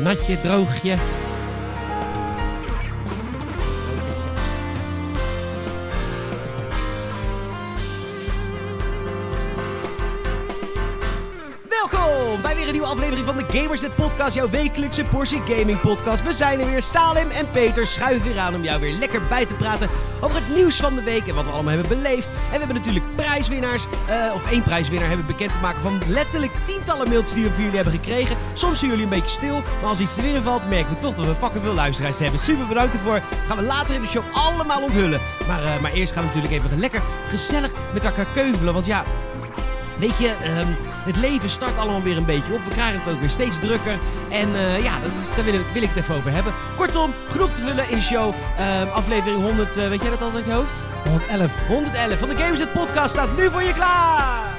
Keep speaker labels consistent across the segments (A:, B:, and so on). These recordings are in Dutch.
A: natje, droogje.
B: Welkom bij weer een nieuwe aflevering van de Gamerset Podcast, jouw wekelijkse portie gaming podcast. We zijn er weer, Salim en Peter schuiven weer aan om jou weer lekker bij te praten over het nieuws van de week en wat we allemaal hebben beleefd. En we hebben natuurlijk prijswinnaars, eh, of één prijswinnaar hebben we bekend te maken van letterlijk tientallen mailtjes die we voor jullie hebben gekregen. Soms zien jullie een beetje stil, maar als iets te winnen valt, merken we toch dat we fucking veel luisteraars hebben. Super bedankt ervoor. Gaan we later in de show allemaal onthullen. Maar, eh, maar eerst gaan we natuurlijk even lekker gezellig met elkaar keuvelen, want ja... Weet je, ehm, het leven start allemaal weer een beetje op. We krijgen het ook weer steeds drukker. En eh, ja, dat is, daar wil, ik- wil ik het even over hebben. Kortom, genoeg te vullen in de show. Ehm, aflevering 100, eh, weet jij dat altijd uit je hoofd?
A: 111.
B: 111 van de Gameset Podcast staat nu voor je klaar!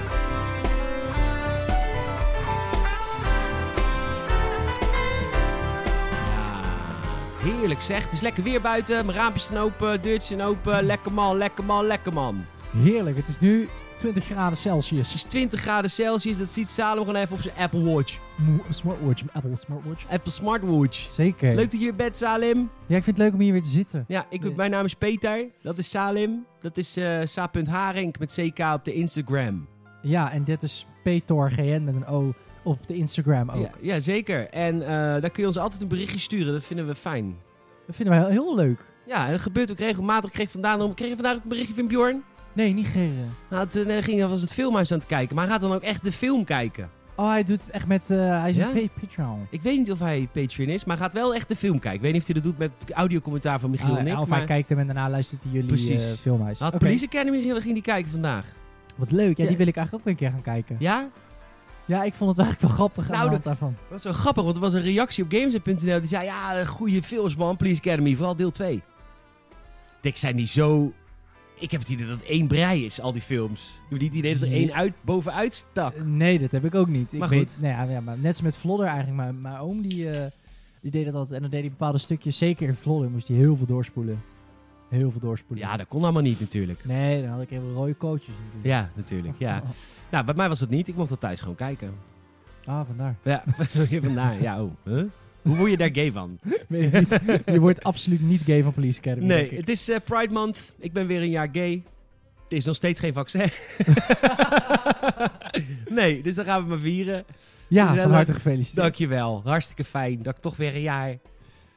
B: Ja, Heerlijk zeg, het is lekker weer buiten. Mijn raampjes zijn open, deurtjes zijn open. Lekker man, lekker man, lekker man.
A: Heerlijk, het is nu 20 graden Celsius.
B: Het is 20 graden Celsius, dat ziet Salem gewoon even op zijn Apple Watch.
A: Moe- Smartwatch, Apple Smartwatch.
B: Apple Smartwatch.
A: Zeker.
B: Leuk dat je weer bent, Salim.
A: Ja, ik vind het leuk om hier weer te zitten.
B: Ja, ik,
A: Ja.
B: mijn naam is Peter. Dat is Salim. Dat is eh sa.haring met ck op de Instagram.
A: Ja, en dit is Petor GN met een O op de Instagram ook.
B: Ja, ja, zeker. En eh, daar kun je ons altijd een berichtje sturen. Dat vinden we fijn.
A: Dat vinden wij heel, heel leuk.
B: Ja, en dat gebeurt ook regelmatig. Ik kreeg vandaag, nog- kreeg je vandaag ook een berichtje van Bjorn.
A: Nee, niet geren.
B: Nou, toen eh, ging hij was het filmhuis aan het kijken. Maar hij gaat dan ook echt de film kijken.
A: Oh, hij doet het echt met... eh, hij is
B: Ja?
A: een pa- Patreon.
B: Ik weet niet of hij Patreon is, maar hij gaat wel echt de film kijken. Ik weet niet of hij dat doet met audiocommentaar van Michiel
A: Ah,
B: en ik.
A: ja, of
B: maar...
A: hij kijkt hem en daarna luistert hij jullie
B: Precies.
A: eh, filmhuis.
B: Nou, het
A: Oké.
B: Police Academy ging ging die kijken vandaag.
A: Wat leuk. Ja,
B: Ja.
A: die wil ik eigenlijk ook weer een keer gaan kijken.
B: Ja?
A: Ja, ik vond het eigenlijk wel grappig aan
B: Nou,
A: de
B: de-
A: hand daarvan.
B: Dat was wel grappig, want er was een reactie op Games.nl die zei... Ja, goede films man, Police Academy, vooral deel 2. Dik zijn die zo... Ik heb het idee dat het één brei is, al die films. Je hebt niet het idee dat er één uit, bovenuit stak.
A: Eh, Nee, dat heb ik ook niet. Ik
B: Maar
A: weet,
B: goed.
A: nou ja, ja, maar net als met Vlodder eigenlijk. Maar mijn oom die, eh, die deed dat altijd. En dan deed hij bepaalde stukjes. Zeker in Vlodder moest hij heel veel doorspoelen. Heel veel doorspoelen.
B: Ja, dat kon allemaal niet natuurlijk.
A: Nee, dan had ik helemaal rode coaches natuurlijk.
B: Ja, natuurlijk, ja. Nou, bij mij was dat niet. Ik mocht dat thuis gewoon kijken.
A: Ah, vandaar.
B: Ja, vandaar. Ja, oh. Huh? Hoe word je daar gay van?
A: Weet ik niet. Je wordt absoluut niet gay van Police Academy. denk
B: Nee,
A: ik.
B: het is eh, Pride Month. Ik ben weer een jaar gay. Het is nog steeds geen vaccin. nee, dus dan gaan we maar vieren.
A: ja,
B: het is
A: van
B: wel
A: harte gefeliciteerd.
B: Dankjewel. Hartstikke fijn dat ik toch weer een jaar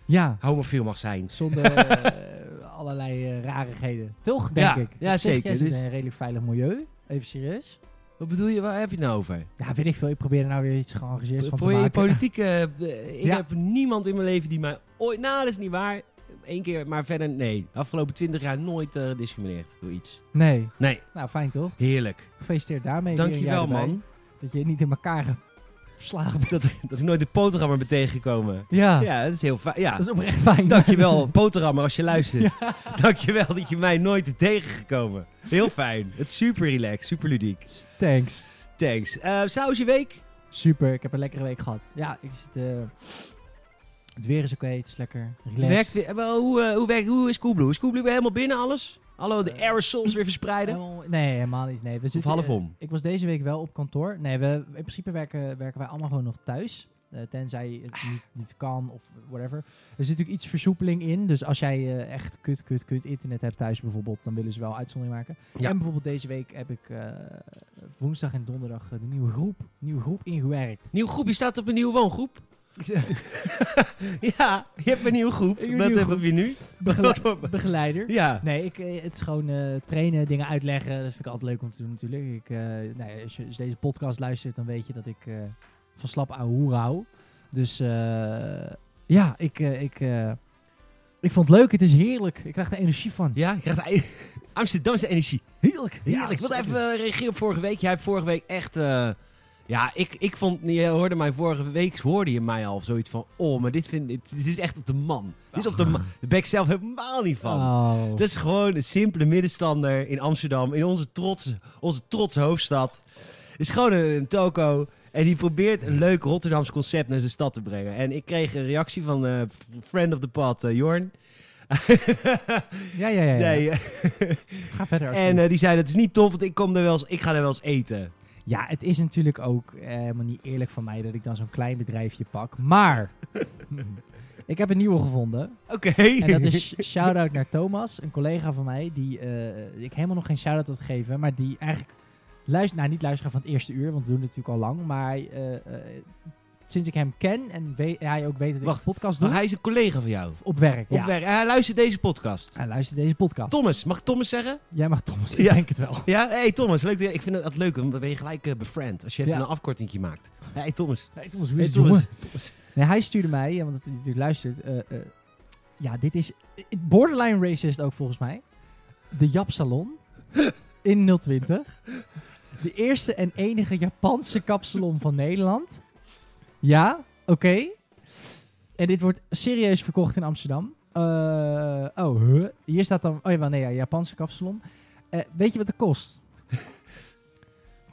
A: Ja,
B: homofiel mag zijn.
A: zonder eh, allerlei eh, rarigheden. Toch, denk
B: Ja,
A: ik.
B: ja,
A: Op zich,
B: zeker.
A: Jij zit
B: Dus-
A: in een redelijk veilig milieu. Even serieus.
B: Wat bedoel je? Waar heb je het nou over?
A: Ja, weet ik veel. Ik probeer er nou weer iets geëngageerds van te
B: Voor je
A: maken.
B: politiek... eh, eh, ik
A: Ja.
B: heb niemand in mijn leven die mij ooit... Nou, dat is niet waar. Eén keer, maar verder nee. Afgelopen twintig jaar nooit eh, gediscrimineerd door iets.
A: Nee.
B: Nee,
A: Nou, fijn toch?
B: heerlijk.
A: Gefeliciteerd daarmee. weer een
B: Dankjewel,
A: jaar erbij.
B: man.
A: Dat je niet in elkaar geslagen bent.
B: Dat, dat ik nooit de poterhammer ben tegengekomen.
A: Ja,
B: Ja, dat is heel fijn. Ja.
A: Ah. dat is oprecht fijn.
B: Dankjewel, Poterhammer, als je luistert. Dankjewel dat je mij nooit hebt tegengekomen. Heel fijn. Het is super relaxed, super ludiek.
A: Thanks.
B: Thanks. Eh sausje week?
A: Super, ik heb een lekkere week gehad. Ja, ik zit... eh, het weer is oké, het is lekker.
B: Werkt
A: Relaxed.
B: weer- eh, hoe, eh, hoe, werkt, hoe is Coolblue? Is Coolblue weer helemaal binnen alles? Alle de
A: Eh,
B: aerosols weer verspreiden?
A: Helemaal- Nee, helemaal niet. Nee, we
B: Of
A: zitten,
B: half
A: eh,
B: om?
A: ik was deze week wel op kantoor. Nee, we, in principe werken, werken wij allemaal gewoon nog thuis. Eh, tenzij het niet, niet kan of whatever. Er zit natuurlijk iets versoepeling in. Dus als jij eh, echt kut, kut, kut internet hebt thuis bijvoorbeeld, dan willen ze wel uitzondering maken.
B: Ja.
A: En bijvoorbeeld deze week heb ik eh, woensdag en donderdag eh, de nieuwe groep, nieuwe groep ingewerkt.
B: Nieuw groep, je staat op een nieuwe woongroep. ja, je hebt een nieuwe groep.
A: Ik heb een
B: Wat
A: nieuwe
B: heb je nu?
A: Begele- begeleider.
B: ja.
A: Nee, ik, eh, het is gewoon eh, trainen, dingen uitleggen. Dat vind ik altijd leuk om te doen natuurlijk. Ik, eh, nou ja, als je als je deze podcast luistert, dan weet je dat ik eh, van slap ouwe hoeren hou. Dus eh, ja, ik, eh, ik, eh, ik vond het leuk. Het is heerlijk. Ik krijg er energie van.
B: Ja, je krijgt ei- Amsterdamse energie.
A: Heerlijk.
B: Heerlijk. ik wil even eh, reageren op vorige week. Jij hebt vorige week echt... eh, ja, ik, ik vond... Je hoorde mij vorige week... Hoorde je mij al zoiets van... Oh, maar dit, vind, dit, dit is echt op de man. Dit is op de man. De back zelf helemaal niet van.
A: Oh.
B: Het is gewoon een simpele middenstander in Amsterdam. In onze trotse, onze trotse hoofdstad. Het is gewoon een, een toko. En die probeert een leuk Rotterdams concept naar zijn stad te brengen. En ik kreeg een reactie van eh, friend of the pod, eh, Jorn.
A: Ja, ja, ja. ja.
B: Zij, eh,
A: Ga verder.
B: en eh, die zei, dat is niet tof, want ik, kom er wel eens, ik ga er wel eens eten.
A: alsjeblieft. Ja, het is natuurlijk ook eh, helemaal niet eerlijk van mij dat ik dan zo'n klein bedrijfje pak. Maar ik heb een nieuwe gevonden.
B: Oké.
A: En dat is sh- shout-out naar Thomas, een collega van mij, die eh, ik helemaal nog geen shout-out had gegeven, maar die eigenlijk luistert, nou niet luisteraar van het eerste uur, want we doen het natuurlijk al lang, maar eh, eh, sinds ik hem ken en we- hij ook weet dat ik
B: Wacht,
A: een podcast doe,
B: Maar hij is een collega van jou.
A: op werk,
B: Op
A: ja.
B: werk. En Hij luistert deze podcast.
A: Hij luistert deze podcast.
B: Thomas, mag ik Thomas zeggen?
A: Jij mag Thomas, ik
B: Ja.
A: denk het wel.
B: Ja? Hey Thomas, leuk. dat je- Ik vind het leuk, want dan ben je gelijk eh, befriend. Als je even
A: Ja.
B: een afkortingje maakt. Hey Thomas.
A: Hey Thomas, hoe
B: Hey
A: is het, jongen? Nee, hij stuurde mij, eh, want dat hij natuurlijk luistert. eh, eh, ja, dit is eh, borderline racist ook volgens mij. De Jap Salon in 020. De eerste en enige Japanse kapsalon van Nederland. Ja, oké. En dit wordt serieus verkocht in Amsterdam. Eh, oh, huh? hier staat dan... Oh ja, wel, nee, ja, Japanse kapsalon. Eh, weet je wat het kost? 12,50.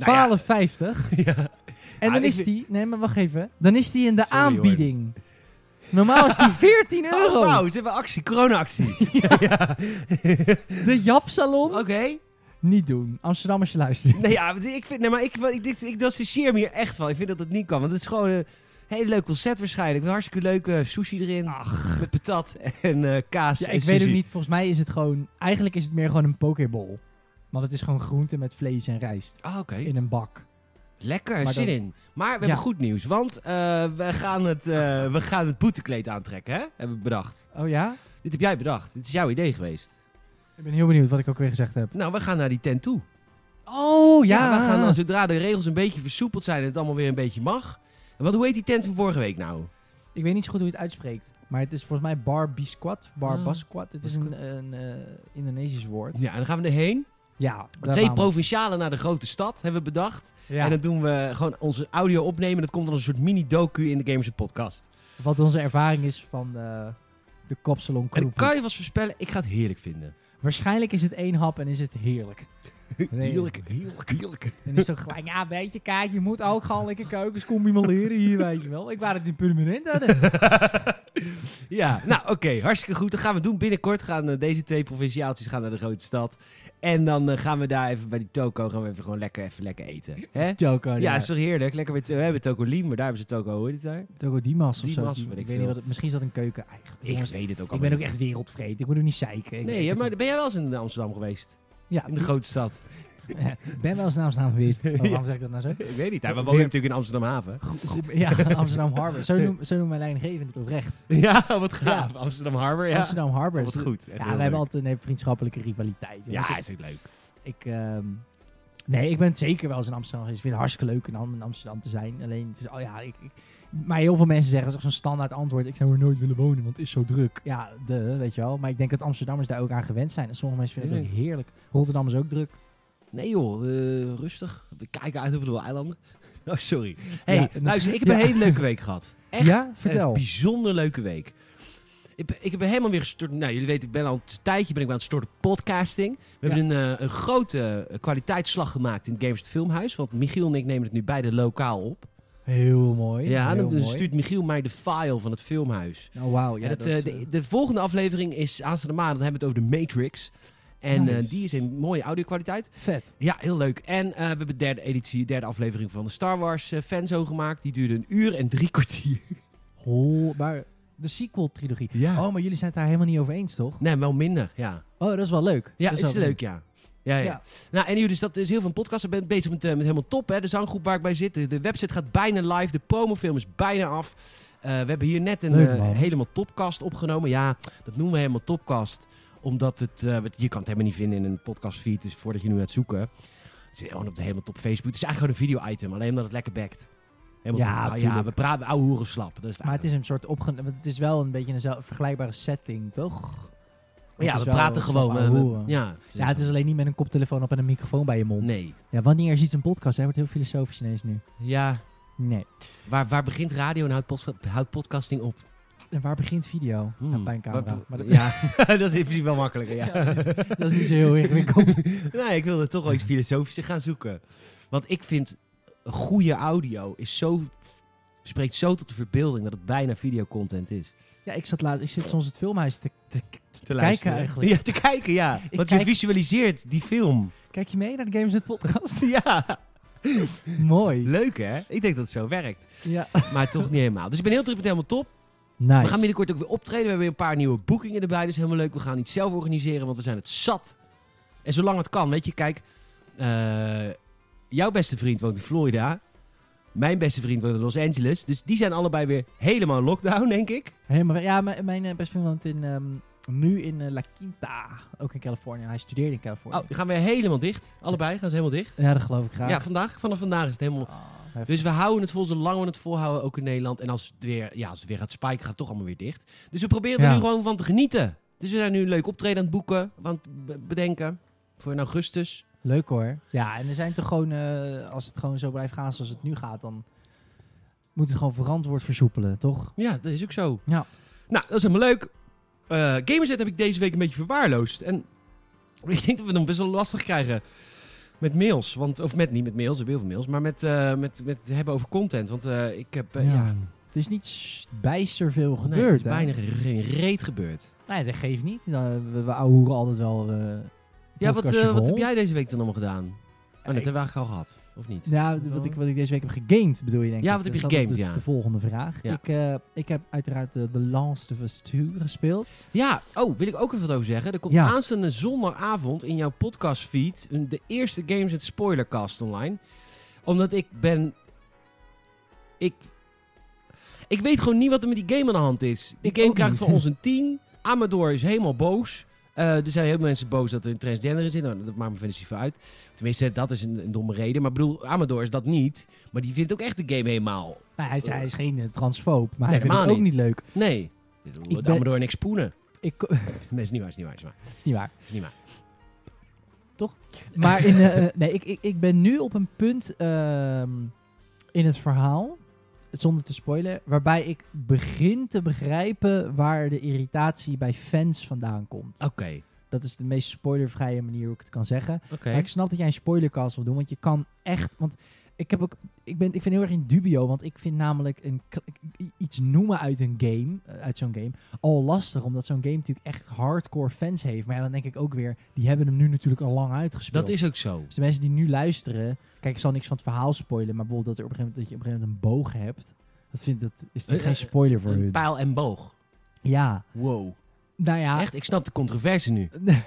B: Nou ja. Ja.
A: En
B: Ah,
A: dan
B: ik
A: is
B: vind-
A: die, nee, maar wacht even. Dan is die in de
B: Sorry, hoor.
A: aanbieding. Normaal is die 14 euro.
B: Oh, wauw, ze hebben actie, corona-actie. Ja.
A: De Japsalon.
B: Oké.
A: Niet doen. Amsterdam als je luistert.
B: Nee, ja, want ik vind, nee, maar ik, ik, ik, ik distancieer me hier echt wel. Ik vind dat het niet kan. Want het is gewoon een heel leuk concept waarschijnlijk. Met hartstikke leuke eh, sushi erin. Met patat en eh, kaas.
A: Ja,
B: en
A: ik weet ook
B: sushi.
A: niet. Volgens mij is het gewoon... Eigenlijk is het meer gewoon een pokeball. Want het is gewoon groente met vlees en rijst.
B: Ah, oké.
A: In een bak.
B: Lekker,
A: Maar
B: zin
A: dan-
B: in. Maar we
A: Ja.
B: hebben goed nieuws. Want eh, we, gaan het, eh, we gaan het boetekleed aantrekken, hè? Hebben we bedacht.
A: Oh ja?
B: Dit heb jij bedacht. Dit is jouw idee geweest.
A: Ik ben heel benieuwd wat ik ook weer gezegd heb.
B: Nou, we gaan naar die tent toe.
A: Oh ja.
B: we gaan dan, zodra de regels een beetje versoepeld zijn en het allemaal weer een beetje mag. En wat, hoe heet die tent van vorige week nou?
A: Ik weet niet zo goed hoe je het uitspreekt. Maar het is volgens mij bar bisquat. of Bar
B: Ah,
A: basquat. Het is
B: basquat.
A: een, een eh, Indonesisch woord.
B: Ja, dan gaan we erheen.
A: Ja. daar
B: Twee
A: gaan we.
B: provincialen naar de grote stad hebben we bedacht.
A: Ja.
B: En dan doen we gewoon onze audio opnemen. Dat komt dan een soort mini-docu in de Gamers Podcast.
A: Wat onze ervaring is van eh, de kopsalon
B: En ik
A: Kroep.
B: kan je vast voorspellen, ik ga het heerlijk vinden.
A: Waarschijnlijk is het één hap en is het heerlijk. Nee.
B: Heerlijk, heerlijk, heerlijk.
A: En is het ook gelijk, ja weet je, kijk, je moet ook gewoon lekker keukens combineren hier, weet je wel. Ik wou het in permanent hadden.
B: Ja, nou oké, hartstikke goed. Dat gaan we doen. Binnenkort gaan eh, deze twee provinciaaltjes gaan naar de grote stad. En dan eh, gaan we daar even bij die toko gaan we even gewoon lekker, even lekker
A: Oh,
B: eten. Hè?
A: Choco,
B: Ja, is toch heerlijk? Lekker met, we hebben Toko Liem, maar daar hebben ze Toko, hoe heet het daar?
A: Choco Dimas of zo.
B: Dimas,
A: Die-
B: weet ik
A: ik weet
B: veel.
A: niet wat het, misschien is dat een keuken eigenlijk.
B: Ik weet het ook al.
A: ik ben ook echt wereldvreemd, ik moet ook niet zeiken.
B: Nee,
A: Ik weet
B: hè,
A: het.
B: maar ben jij wel eens in Amsterdam geweest?
A: Ja,
B: In de
A: tu-
B: grote stad?
A: ik ben wel eens naar Amsterdam geweest. Oh, waarom zeg ik dat nou zo?
B: ik weet niet. hè, We
A: Weer-
B: wonen natuurlijk in Amsterdam Haven.
A: Goed, goed, ja, Amsterdam Harbor. Zo noemt zo noemt mijn leidinggevende het oprecht.
B: Ja, wat gaaf. Amsterdam Harbor, ja.
A: Amsterdam Harbor.
B: Wat
A: is-
B: goed.
A: Ja, we hebben altijd een vriendschappelijke rivaliteit. jongens.
B: Ja, is ook leuk.
A: Ik, ehm, nee, ik ben zeker wel eens in Amsterdam geweest. Ik vind het hartstikke leuk om in Amsterdam te zijn. Alleen, het is, oh ja, ik, ik, maar heel veel mensen zeggen, dat is echt zo'n standaard antwoord. Ik zou er nooit willen wonen, want het is zo druk. Ja, de, weet je wel. Maar ik denk dat Amsterdammers daar ook aan gewend zijn. En sommige mensen vinden het ook heerlijk. Rotterdam is ook druk.
B: Nee joh, eh, rustig. We kijken uit over de eilanden. Oh, sorry. hey,
A: Ja,
B: luister, ik heb
A: nou, ja.
B: een hele leuke week gehad. Echt.
A: Ja? Vertel.
B: Een bijzonder leuke week. Ik, ben- ik heb helemaal weer gestort. Nou, jullie weten, ik ben al een tijdje ben ik aan het storten podcasting. We
A: Ja.
B: hebben een, eh, een grote eh, kwaliteitsslag gemaakt in het Gamers het Filmhuis. Want Michiel en ik nemen het nu beide lokaal op.
A: Heel mooi.
B: ja,
A: Oh heel
B: dan
A: mooi.
B: stuurt Michiel mij de file van het filmhuis.
A: Oh, wauw. Ja,
B: en het,
A: dat,
B: eh,
A: eh,
B: de, de volgende aflevering is aanstaande maandag. Dan hebben we het over de Matrix. En eh,
A: Nice.
B: die is in mooie audio-kwaliteit.
A: vet.
B: Ja, heel leuk. En eh, we hebben de derde editie, derde aflevering van de Star Wars eh, fanzo gemaakt. Die duurde een uur en drie kwartier.
A: Hol, maar de sequel-trilogie.
B: Ja.
A: Oh, maar jullie zijn het daar helemaal niet over eens, toch?
B: Nee, wel minder, ja.
A: Oh, dat is wel leuk.
B: Ja,
A: dat
B: is
A: wel
B: leuk, ja. Ja, ja.
A: Ja.
B: Nou, en jullie, dus dat is heel veel podcast. Ik ben bezig met, eh, met helemaal top, hè. De zanggroep waar ik bij zit. De, de website gaat bijna live. De promofilm is bijna af. Eh, we hebben hier net een
A: Leuk,
B: eh,
A: man.
B: helemaal topcast opgenomen. Ja, dat noemen we helemaal topcast. Omdat het... eh, wat- je kan het helemaal niet vinden in een podcastfeed. Dus voordat je nu gaat zoeken... Het zit gewoon op de helemaal top Facebook. Het is eigenlijk gewoon een video-item. Alleen omdat het lekker backt. Helemaal
A: Ja,
B: top. Ah, ja,
A: tuurlijk.
B: we praten ouwe hoeren slap. Dat is het
A: Maar
B: eigenlijk.
A: het is een soort opge... Want het is wel een beetje een zel- vergelijkbare setting, toch? Het
B: ja,
A: is
B: we
A: wel
B: praten
A: slap
B: gewoon.
A: ouwe
B: eh, we-
A: hoeren.
B: ja,
A: Ja, het is alleen niet met een koptelefoon op en een microfoon bij je mond.
B: Nee.
A: Ja, wanneer is iets een podcast? Hij wordt heel filosofisch ineens nu.
B: Ja,
A: Nee.
B: waar, waar begint radio en houdt, pos- houdt podcasting op?
A: En waar begint video?
B: Hmm.
A: Ja, bij een camera.
B: Wat-
A: Maar dat,
B: ja, dat is in principe wel makkelijker. Ja.
A: Ja, dat dat is niet zo heel ingewikkeld.
B: nee, ik wilde toch wel iets filosofischer gaan zoeken. Want ik vind goede audio is zo, spreekt zo tot de verbeelding dat het bijna videocontent is.
A: ja, ik zat laatst... Ik zit soms het filmhuis te, te, te kijken
B: luisteren.
A: eigenlijk.
B: Ja, te kijken, ja. Want je
A: kijk-
B: visualiseert die film.
A: Kijk je mee naar de Games Net podcast?
B: Ja.
A: Mooi.
B: Leuk hè? Ik denk dat het zo werkt.
A: Ja.
B: Maar toch niet helemaal. Dus ik ben heel druk met helemaal top.
A: Nice.
B: We gaan binnenkort ook weer optreden. We hebben weer een paar nieuwe boekingen erbij. Dus helemaal leuk. We gaan iets zelf organiseren, want we zijn het zat. En zolang het kan, weet je, kijk. eh, jouw beste vriend woont in Florida. Mijn beste vriend woont in Los Angeles. Dus die zijn allebei weer helemaal in lockdown, denk ik.
A: Helemaal, ja, mijn, mijn eh, beste vriend woont in, ehm, nu in eh, La Quinta, ook in Californië. Hij studeerde in Californië.
B: Oh, die gaan weer helemaal dicht. Allebei gaan ze helemaal dicht.
A: Ja, dat geloof ik graag.
B: Ja, vandaag. Vanaf vandaag is het helemaal...
A: Oh, hij
B: Dus we houden het vol, zolang we het volhouden, ook in Nederland. En als het weer, ja, als het weer gaat spiken, gaat het toch allemaal weer dicht. Dus we proberen er
A: Ja.
B: nu gewoon van te genieten. Dus we zijn nu een leuk optreden aan het boeken, want bedenken. Voor in augustus.
A: Leuk hoor. Ja, en er zijn toch gewoon, eh, als het gewoon zo blijft gaan zoals het nu gaat, dan moet het gewoon verantwoord versoepelen, toch?
B: Ja, dat is ook zo.
A: Ja.
B: Nou, dat is helemaal leuk. Eh Gamerset heb ik deze week een beetje verwaarloosd. En ik denk dat we het nog best wel lastig krijgen met mails. Want, of met, niet met mails, we hebben heel veel mails. Maar met, eh, met, met het hebben over content. Want eh, ik heb... eh, ja.
A: Het is niet s- bijster veel
B: Nee,
A: gebeurd,
B: er is
A: hè?
B: bijna geen reet gebeurd.
A: Nee, dat geeft niet. Dan, we we ouwehoeren altijd wel eh
B: Ja, wat,
A: podcastje
B: eh, wat
A: vol.
B: heb jij deze week dan allemaal gedaan? Oh, dat
A: Ik-
B: hebben we eigenlijk al gehad, of niet?
A: Ja, d- wat ik, wat ik deze week heb gegamed, bedoel je denk
B: Ja,
A: ik.
B: wat heb
A: Dus
B: je
A: dat is
B: gegamed,
A: de,
B: ja.
A: De volgende vraag.
B: Ja.
A: Ik, eh, ik heb uiteraard eh, The Last of Us 2 gespeeld.
B: Ja, oh, wil ik ook even wat over zeggen. Er komt
A: Ja.
B: aanstaande zondagavond in jouw podcastfeed een- de eerste Games in Spoilercast online. Omdat ik ben... Ik... Ik weet gewoon niet wat er met die game aan de hand is. Die
A: Ik
B: game
A: ook
B: krijgt
A: niet.
B: van ons een 10. Amador is helemaal boos. Eh, er zijn heel veel mensen boos dat er een transgender in zit. Nou, dat maakt me verder niet voor uit. Tenminste, dat is een, een domme reden. Maar ik bedoel, Amador is dat niet. Maar die vindt ook echt de game helemaal...
A: Nou, hij, is, hij is geen eh, transfoob, maar
B: Nee,
A: hij vindt het
B: helemaal
A: ook niet leuk.
B: Nee. Ik
A: ben-
B: Amador niks poenen.
A: Ik, ko-
B: Nee, is niet waar, is niet waar, is niet waar.
A: is niet waar.
B: Is niet waar.
A: Maar in, eh, eh, nee, ik, ik, ik ben nu op een punt ehm, in het verhaal, zonder te spoilen, waarbij ik begin te begrijpen waar de irritatie bij fans vandaan komt.
B: Oké,
A: Dat is de meest spoilervrije manier hoe ik het kan zeggen.
B: Oh. oké.
A: Maar ik snap dat jij een spoilercast wil doen, want je kan echt... Want ik, heb ook, ik, ben, ik vind heel erg in dubio, want ik vind namelijk een, k- iets noemen uit een game, eh, uit zo'n game, al lastig. Omdat zo'n game natuurlijk echt hardcore fans heeft. Maar ja, dan denk ik ook weer, die hebben hem nu natuurlijk al lang uitgespeeld.
B: Dat is ook zo.
A: Dus de mensen die nu luisteren... Kijk, ik zal niks van het verhaal spoilen, maar bijvoorbeeld dat, er op een gegeven moment, dat je op een gegeven moment een boog hebt... Dat, vind, dat is
B: Eh,
A: natuurlijk geen
B: eh,
A: spoiler voor
B: Een
A: hun.
B: pijl en boog.
A: Ja,
B: Wow.
A: nou ja...
B: Echt, ik snap de controverse nu.
A: Nee,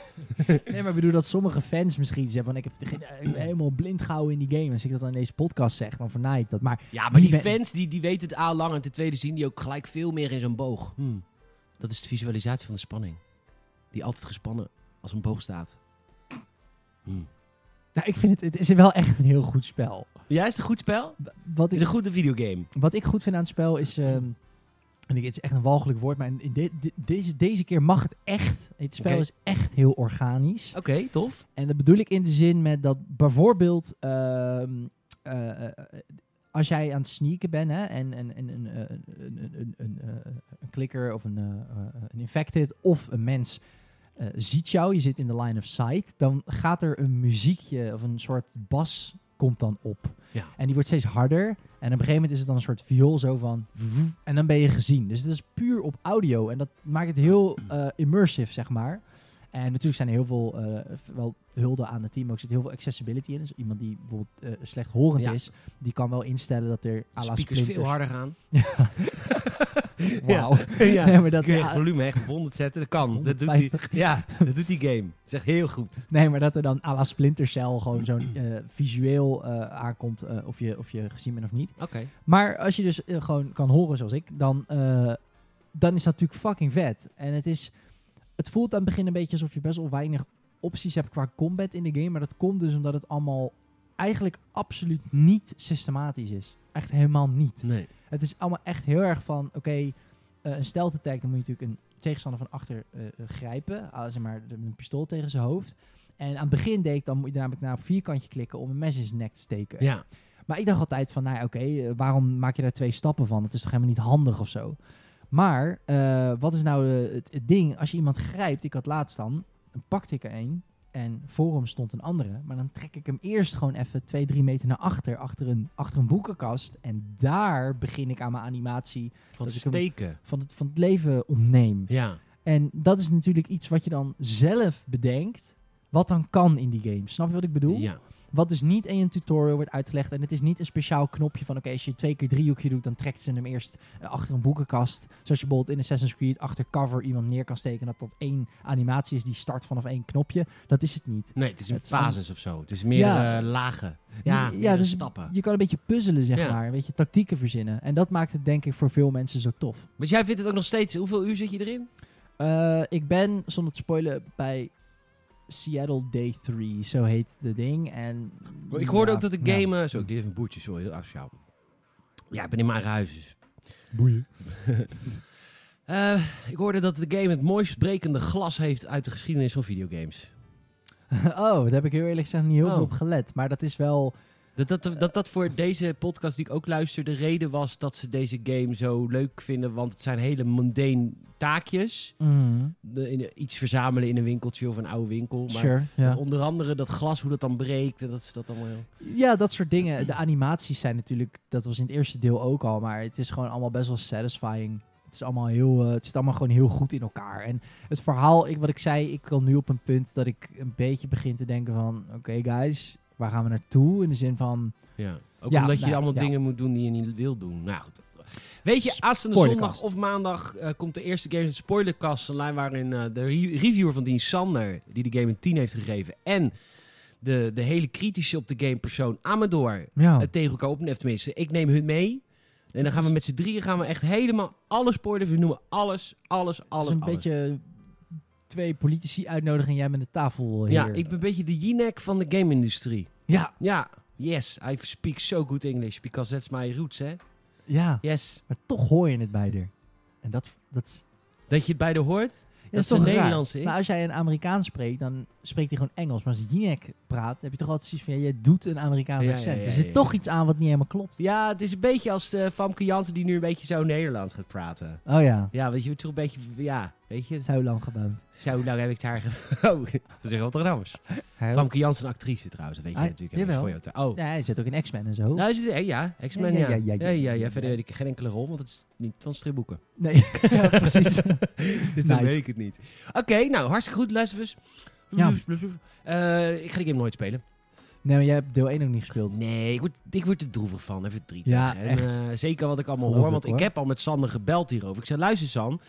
A: maar ik bedoel dat sommige fans misschien zeggen van ik heb geen- eh, ik ben helemaal blind gehouden in die game. Als ik dat dan in deze podcast zeg, dan vernaai ik dat. Maar
B: Ja, maar die
A: Die ben-
B: fans die, die weten het A lang en ten tweede zien die ook gelijk veel meer in zo'n boog. Hmm. Dat is de visualisatie van de spanning. Die altijd gespannen als een boog staat. Hmm.
A: nou, ik vind het, het is wel echt een heel goed spel.
B: Ja, is het een goed spel? Het
A: Wat
B: is een
A: ik,
B: goede videogame.
A: wat ik goed vind aan het spel is, ehm, en ik, het is echt een walgelijk woord, maar in de- de- deze, deze keer mag het echt. Het spel
B: Oké.
A: is echt heel organisch.
B: Oké, tof.
A: En dat bedoel ik in de zin met dat bijvoorbeeld ehm, eh, eh, als jij aan het sneaken bent hè, en, en, en een, eh, een, een, een, een, eh, een klikker of een, eh, eh, een infected of een mens eh, ziet jou, je zit in de line of sight, dan gaat er een muziekje of een soort bas komt dan op.
B: Ja.
A: En die wordt steeds harder. En op een gegeven moment is het dan een soort viool zo van... vroef, En dan ben je gezien. Dus het is puur op audio. En dat maakt het heel eh, immersive, zeg maar. En natuurlijk zijn er heel veel, eh, wel hulde aan het team, maar ook zit heel veel accessibility in. Dus iemand die bijvoorbeeld eh, slechthorend
B: Ja.
A: is, die kan wel instellen dat er à la
B: Speakers veel harder gaan.
A: Wauw.
B: Ja. ja.
A: Nee, maar dat,
B: Kun je het volume echt op 100 zetten? Dat kan. Dat doet die,
A: 150.
B: ja, dat doet die game. Dat is echt heel goed.
A: nee, maar dat er dan à la Splinter Cell gewoon zo'n eh, visueel eh, aankomt eh, of, je, of je gezien bent of niet.
B: Oké.
A: Maar als je dus eh, gewoon kan horen zoals ik, dan, eh, dan is dat natuurlijk fucking vet. En het is. Het voelt aan het begin een beetje alsof je best wel weinig opties hebt qua combat in de game. Maar dat komt dus omdat het allemaal eigenlijk absoluut niet systematisch is. Echt helemaal niet.
B: Nee.
A: Het is allemaal echt heel erg van, oké, eh, een stealth attack, dan moet je natuurlijk een tegenstander van achter eh, eh, grijpen. Ah, zeg maar, de- een pistool tegen zijn hoofd. En aan het begin deed ik, dan moet je namelijk naar op vierkantje klikken om een mes in zijn nek te steken.
B: Ja.
A: Maar ik dacht altijd van, nou ja, oké, eh, waarom maak je daar twee stappen van? Dat is toch helemaal niet handig of zo? Maar eh, wat is nou eh, het, het ding? Als je iemand grijpt, ik had laatst dan, dan pakte ik er één en voor hem stond een andere. Maar dan trek ik hem eerst gewoon even twee, drie meter naar achter, achter een, achter een boekenkast. En daar begin ik aan mijn animatie
B: Van
A: Dat ik hem-
B: steken.
A: van het, van het leven ontneem.
B: Ja.
A: En dat is natuurlijk iets wat je dan zelf bedenkt, wat dan kan in die game. Snap je wat ik bedoel?
B: Ja.
A: Wat dus niet in een tutorial wordt uitgelegd. En het is niet een speciaal knopje van... Oké, als je twee keer driehoekje doet, dan trekt ze hem eerst eh, achter een boekenkast. Zoals je bijvoorbeeld in Assassin's Creed achter cover iemand neer kan steken. Dat dat één animatie is die start vanaf één knopje. Dat is het niet.
B: Nee, het is een
A: Het is an-
B: fases of zo. Het is meer
A: Ja.
B: eh, lagen. Ja,
A: Nee,
B: meer
A: dus
B: stappen.
A: Je kan een beetje puzzelen, zeg
B: Ja.
A: maar. Een beetje tactieken verzinnen. En dat maakt het denk ik voor veel mensen zo tof.
B: Maar jij vindt het ook nog steeds... Hoeveel uur zit je erin?
A: Eh, ik ben, zonder te spoilen, bij Seattle Day 3. Zo heet de ding. En,
B: Want ik hoorde
A: ja,
B: ook dat de
A: nou,
B: game... eh, zo, ik deed even een boertje, sorry, heel asociaal. Ja, ik ben in mijn eigen huis, dus...
A: boeien.
B: Eh, ik hoorde dat de game het mooist brekende glas heeft uit de geschiedenis van videogames.
A: oh, daar heb ik heel eerlijk gezegd niet heel
B: Oh.
A: veel op gelet. Maar dat is wel...
B: Dat dat, dat dat voor deze podcast die ik ook luister de reden was dat ze deze game zo leuk vinden. Want het zijn hele mundane taakjes.
A: mm,
B: De- in- iets verzamelen in een winkeltje of een oude winkel. Maar
A: sure, ja.
B: dat onder andere dat glas, hoe dat dan breekt. en Dat is dat allemaal heel...
A: Ja, dat soort dingen. De animaties zijn natuurlijk, dat was in het eerste deel ook al, maar het is gewoon allemaal best wel satisfying. Het, is allemaal heel, eh, het zit allemaal gewoon heel goed in elkaar. En het verhaal, ik, wat ik zei, ik kom nu op een punt dat ik een beetje begin te denken van... Oké guys, waar gaan we naartoe? In de zin van...
B: Ja. Ook
A: Ja,
B: omdat je
A: nou,
B: allemaal
A: ja.
B: dingen moet doen die je niet wil doen. Nou goed. Weet je, aanstaande
A: Spoilercast.
B: zondag of maandag eh, komt de eerste Games Spoilercast online... waarin eh, de re- reviewer van Dean Sander, die de game een 10 heeft gegeven... en de, de hele kritische op de game persoon Amador
A: Ja,
B: het tegen elkaar opnemen. Tenminste, ik neem hun mee. En dan gaan we met z'n drieën gaan we echt helemaal alles spoilers. We noemen alles, alles,
A: het is
B: alles,
A: een
B: alles.
A: beetje twee politici uitnodigen en jij bent de tafel hier.
B: ja, ik ben een beetje de Jinek van de game-industrie.
A: ja,
B: Ja, yes, I speak so good English because that's my roots, hè?
A: ja,
B: Yes.
A: maar toch hoor je het bij haar. En dat, dat, is-
B: Dat je het bij de hoort?
A: Ja,
B: Dat
A: is
B: ze
A: toch raar?
B: Nederlands is?
A: Nou, als jij een Amerikaans spreekt, dan spreekt hij gewoon Engels. Maar als Jinek praat, heb je toch altijd zoiets van... Ja, jij doet een Amerikaans
B: Ja, ja,
A: accent.
B: ja,
A: er zit
B: ja.
A: toch iets aan wat niet helemaal klopt.
B: Ja, het is een beetje als eh, Famke Jansen die nu een beetje zo Nederlands gaat praten.
A: Oh ja,
B: Ja, weet je, toch een beetje, ja, weet je.
A: zo lang gebouwd.
B: Zo lang heb ik het haar ge- Oh, dat is echt wat Rotterdams. Famke Jansen, een actrice trouwens, dat weet je
A: Ah,
B: natuurlijk. helemaal
A: jawel.
B: niet Voor jou te- oh.
A: Ja, hij zit ook in X-Men en zo.
B: Nou, is het, eh, ja, X-Men,
A: Ja,
B: ja.
A: ja,
B: Ja,
A: ja, ja,
B: ja, ja.
A: ja.
B: Verder weet ik geen enkele rol, want het is niet van stripboeken.
A: Nee, ja, precies.
B: dus dan
A: Nice.
B: weet ik het niet. Oké, nou, hartstikke goed, luisterers.
A: Ja.
B: Eh, ik ga die game nooit spelen.
A: Nee, maar jij hebt deel 1 ook niet gespeeld.
B: Nee, ik word, ik word er droevig van en verdrietig.
A: Ja,
B: en,
A: echt.
B: eh, zeker wat ik allemaal
A: Geloof
B: hoor,
A: ik,
B: want ik
A: hoor.
B: heb al met Sander gebeld hierover. Ik zei, luister San,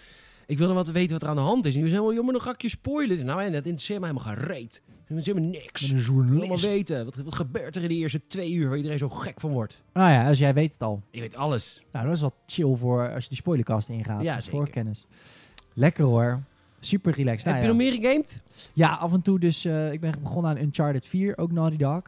B: ik wilde wat weten wat er aan de hand is. En die zei, oh, joh, maar dan ga ik je spoilen. Ik zei, Nou, en dat interesseert mij helemaal gereed. Dat interesseert me niks. Ik
A: Met een
B: wil
A: journalist.
B: allemaal weten, wat, wat gebeurt er in de eerste twee uur waar iedereen zo gek van wordt?
A: Nou ja, als jij weet het al.
B: Ik weet alles.
A: Nou, dat is wel chill voor als je die spoilercast ingaat.
B: Ja,
A: als
B: zeker.
A: voorkennis. Lekker hoor. Super relaxed. Nou
B: Heb
A: ja.
B: je nog meer gegamed?
A: Ja, af en toe dus. eh, ik ben begonnen aan Uncharted 4, ook Naughty Dog.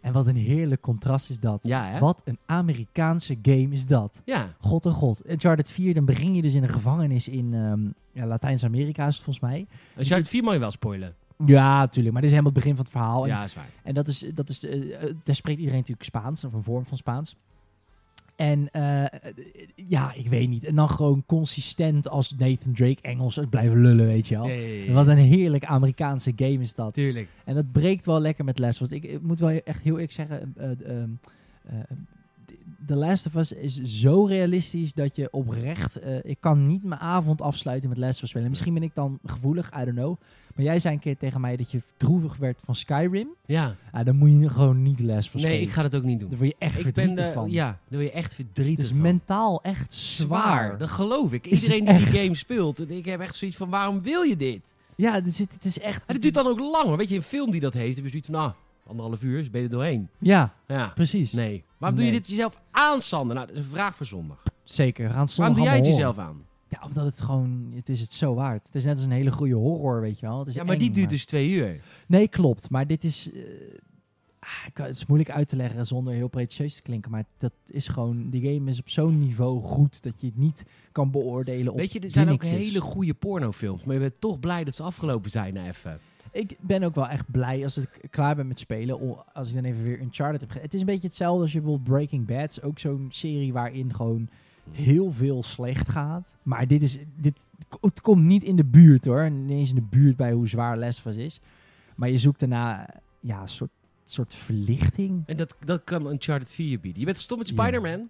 A: En wat een heerlijk contrast is dat.
B: Ja, hè?
A: Wat een Amerikaanse game is dat.
B: Ja.
A: God en god. Uncharted 4, dan begin je dus in een gevangenis in ehm, ja, Latijns-Amerika is het volgens mij.
B: Als je het vier mag je wel spoilen.
A: Ja, natuurlijk. Maar dit is helemaal het begin van het verhaal. En,
B: Ja, is waar.
A: en dat is, dat is eh, eh, daar spreekt iedereen natuurlijk Spaans, of een vorm van Spaans. En eh, eh, ja, ik weet niet. En dan gewoon consistent als Nathan Drake Engels het blijven lullen, weet je wel.
B: Ja, ja, ja, ja.
A: Wat een heerlijk Amerikaanse game is dat.
B: Tuurlijk.
A: En dat breekt wel lekker met Les. Want ik, ik moet wel echt heel eerlijk zeggen... eh, eh, ehm, eh, The Last of Us is zo realistisch dat je oprecht... eh, ik kan niet mijn avond afsluiten met Les of Us spelen. Misschien ben ik dan gevoelig, I don't know. Maar jij zei een keer tegen mij dat je droevig werd van Skyrim.
B: Ja.
A: Ah, dan moet je gewoon niet Les of Us
B: Nee,
A: spelen.
B: ik ga dat ook niet doen.
A: Daar word je echt
B: Ik
A: verdrietig
B: ben, eh,
A: van.
B: Ja, daar word je echt
A: Het
B: verdrietig
A: is
B: van.
A: mentaal echt zwaar.
B: Dat geloof ik.
A: Is
B: Iedereen die
A: het
B: die game speelt. Ik heb echt zoiets van, waarom wil je dit?
A: Ja, dit is- het is echt...
B: En het duurt dan ook lang. hoor. Weet je, een film die dat heeft, heb je zoiets van, nou, anderhalf uur, is ben je er doorheen.
A: Ja,
B: Ja,
A: precies.
B: nee. Waarom doe je
A: Nee.
B: dit jezelf aan, Sander? Nou, dat is een vraag voor zondag.
A: Zeker. We gaan het
B: waarom doe
A: zondag
B: jij het
A: allemaal horen.
B: jezelf aan?
A: Ja, omdat het gewoon, het is het zo waard. Het is net als een hele goede horror, weet je wel. Het is
B: Ja, maar
A: eng,
B: die duurt dus twee uur.
A: Nee, klopt. Maar dit is... eh, ah, ik kan- het is moeilijk uit te leggen zonder heel pretentieus te klinken. Maar dat is gewoon... Die game is op zo'n niveau goed dat je het niet kan beoordelen op
B: Weet je, er zijn ook
A: dingetjes.
B: hele goede pornofilms. Maar je bent toch blij dat ze afgelopen zijn nou even.
A: Ik ben ook wel echt blij als ik klaar ben met spelen. o- Als ik dan even weer Uncharted heb ge- Het is een beetje hetzelfde als je bijvoorbeeld Breaking Bad. is Ook zo'n serie waarin gewoon heel veel slecht gaat. Maar dit is, dit, het komt niet in de buurt hoor. Niet eens in de buurt bij hoe zwaar Les was is. Maar je zoekt daarna ja, een soort, soort verlichting.
B: En dat, dat kan Uncharted 4 bieden. Je bent gestopt met
A: Ja.
B: Spider-Man.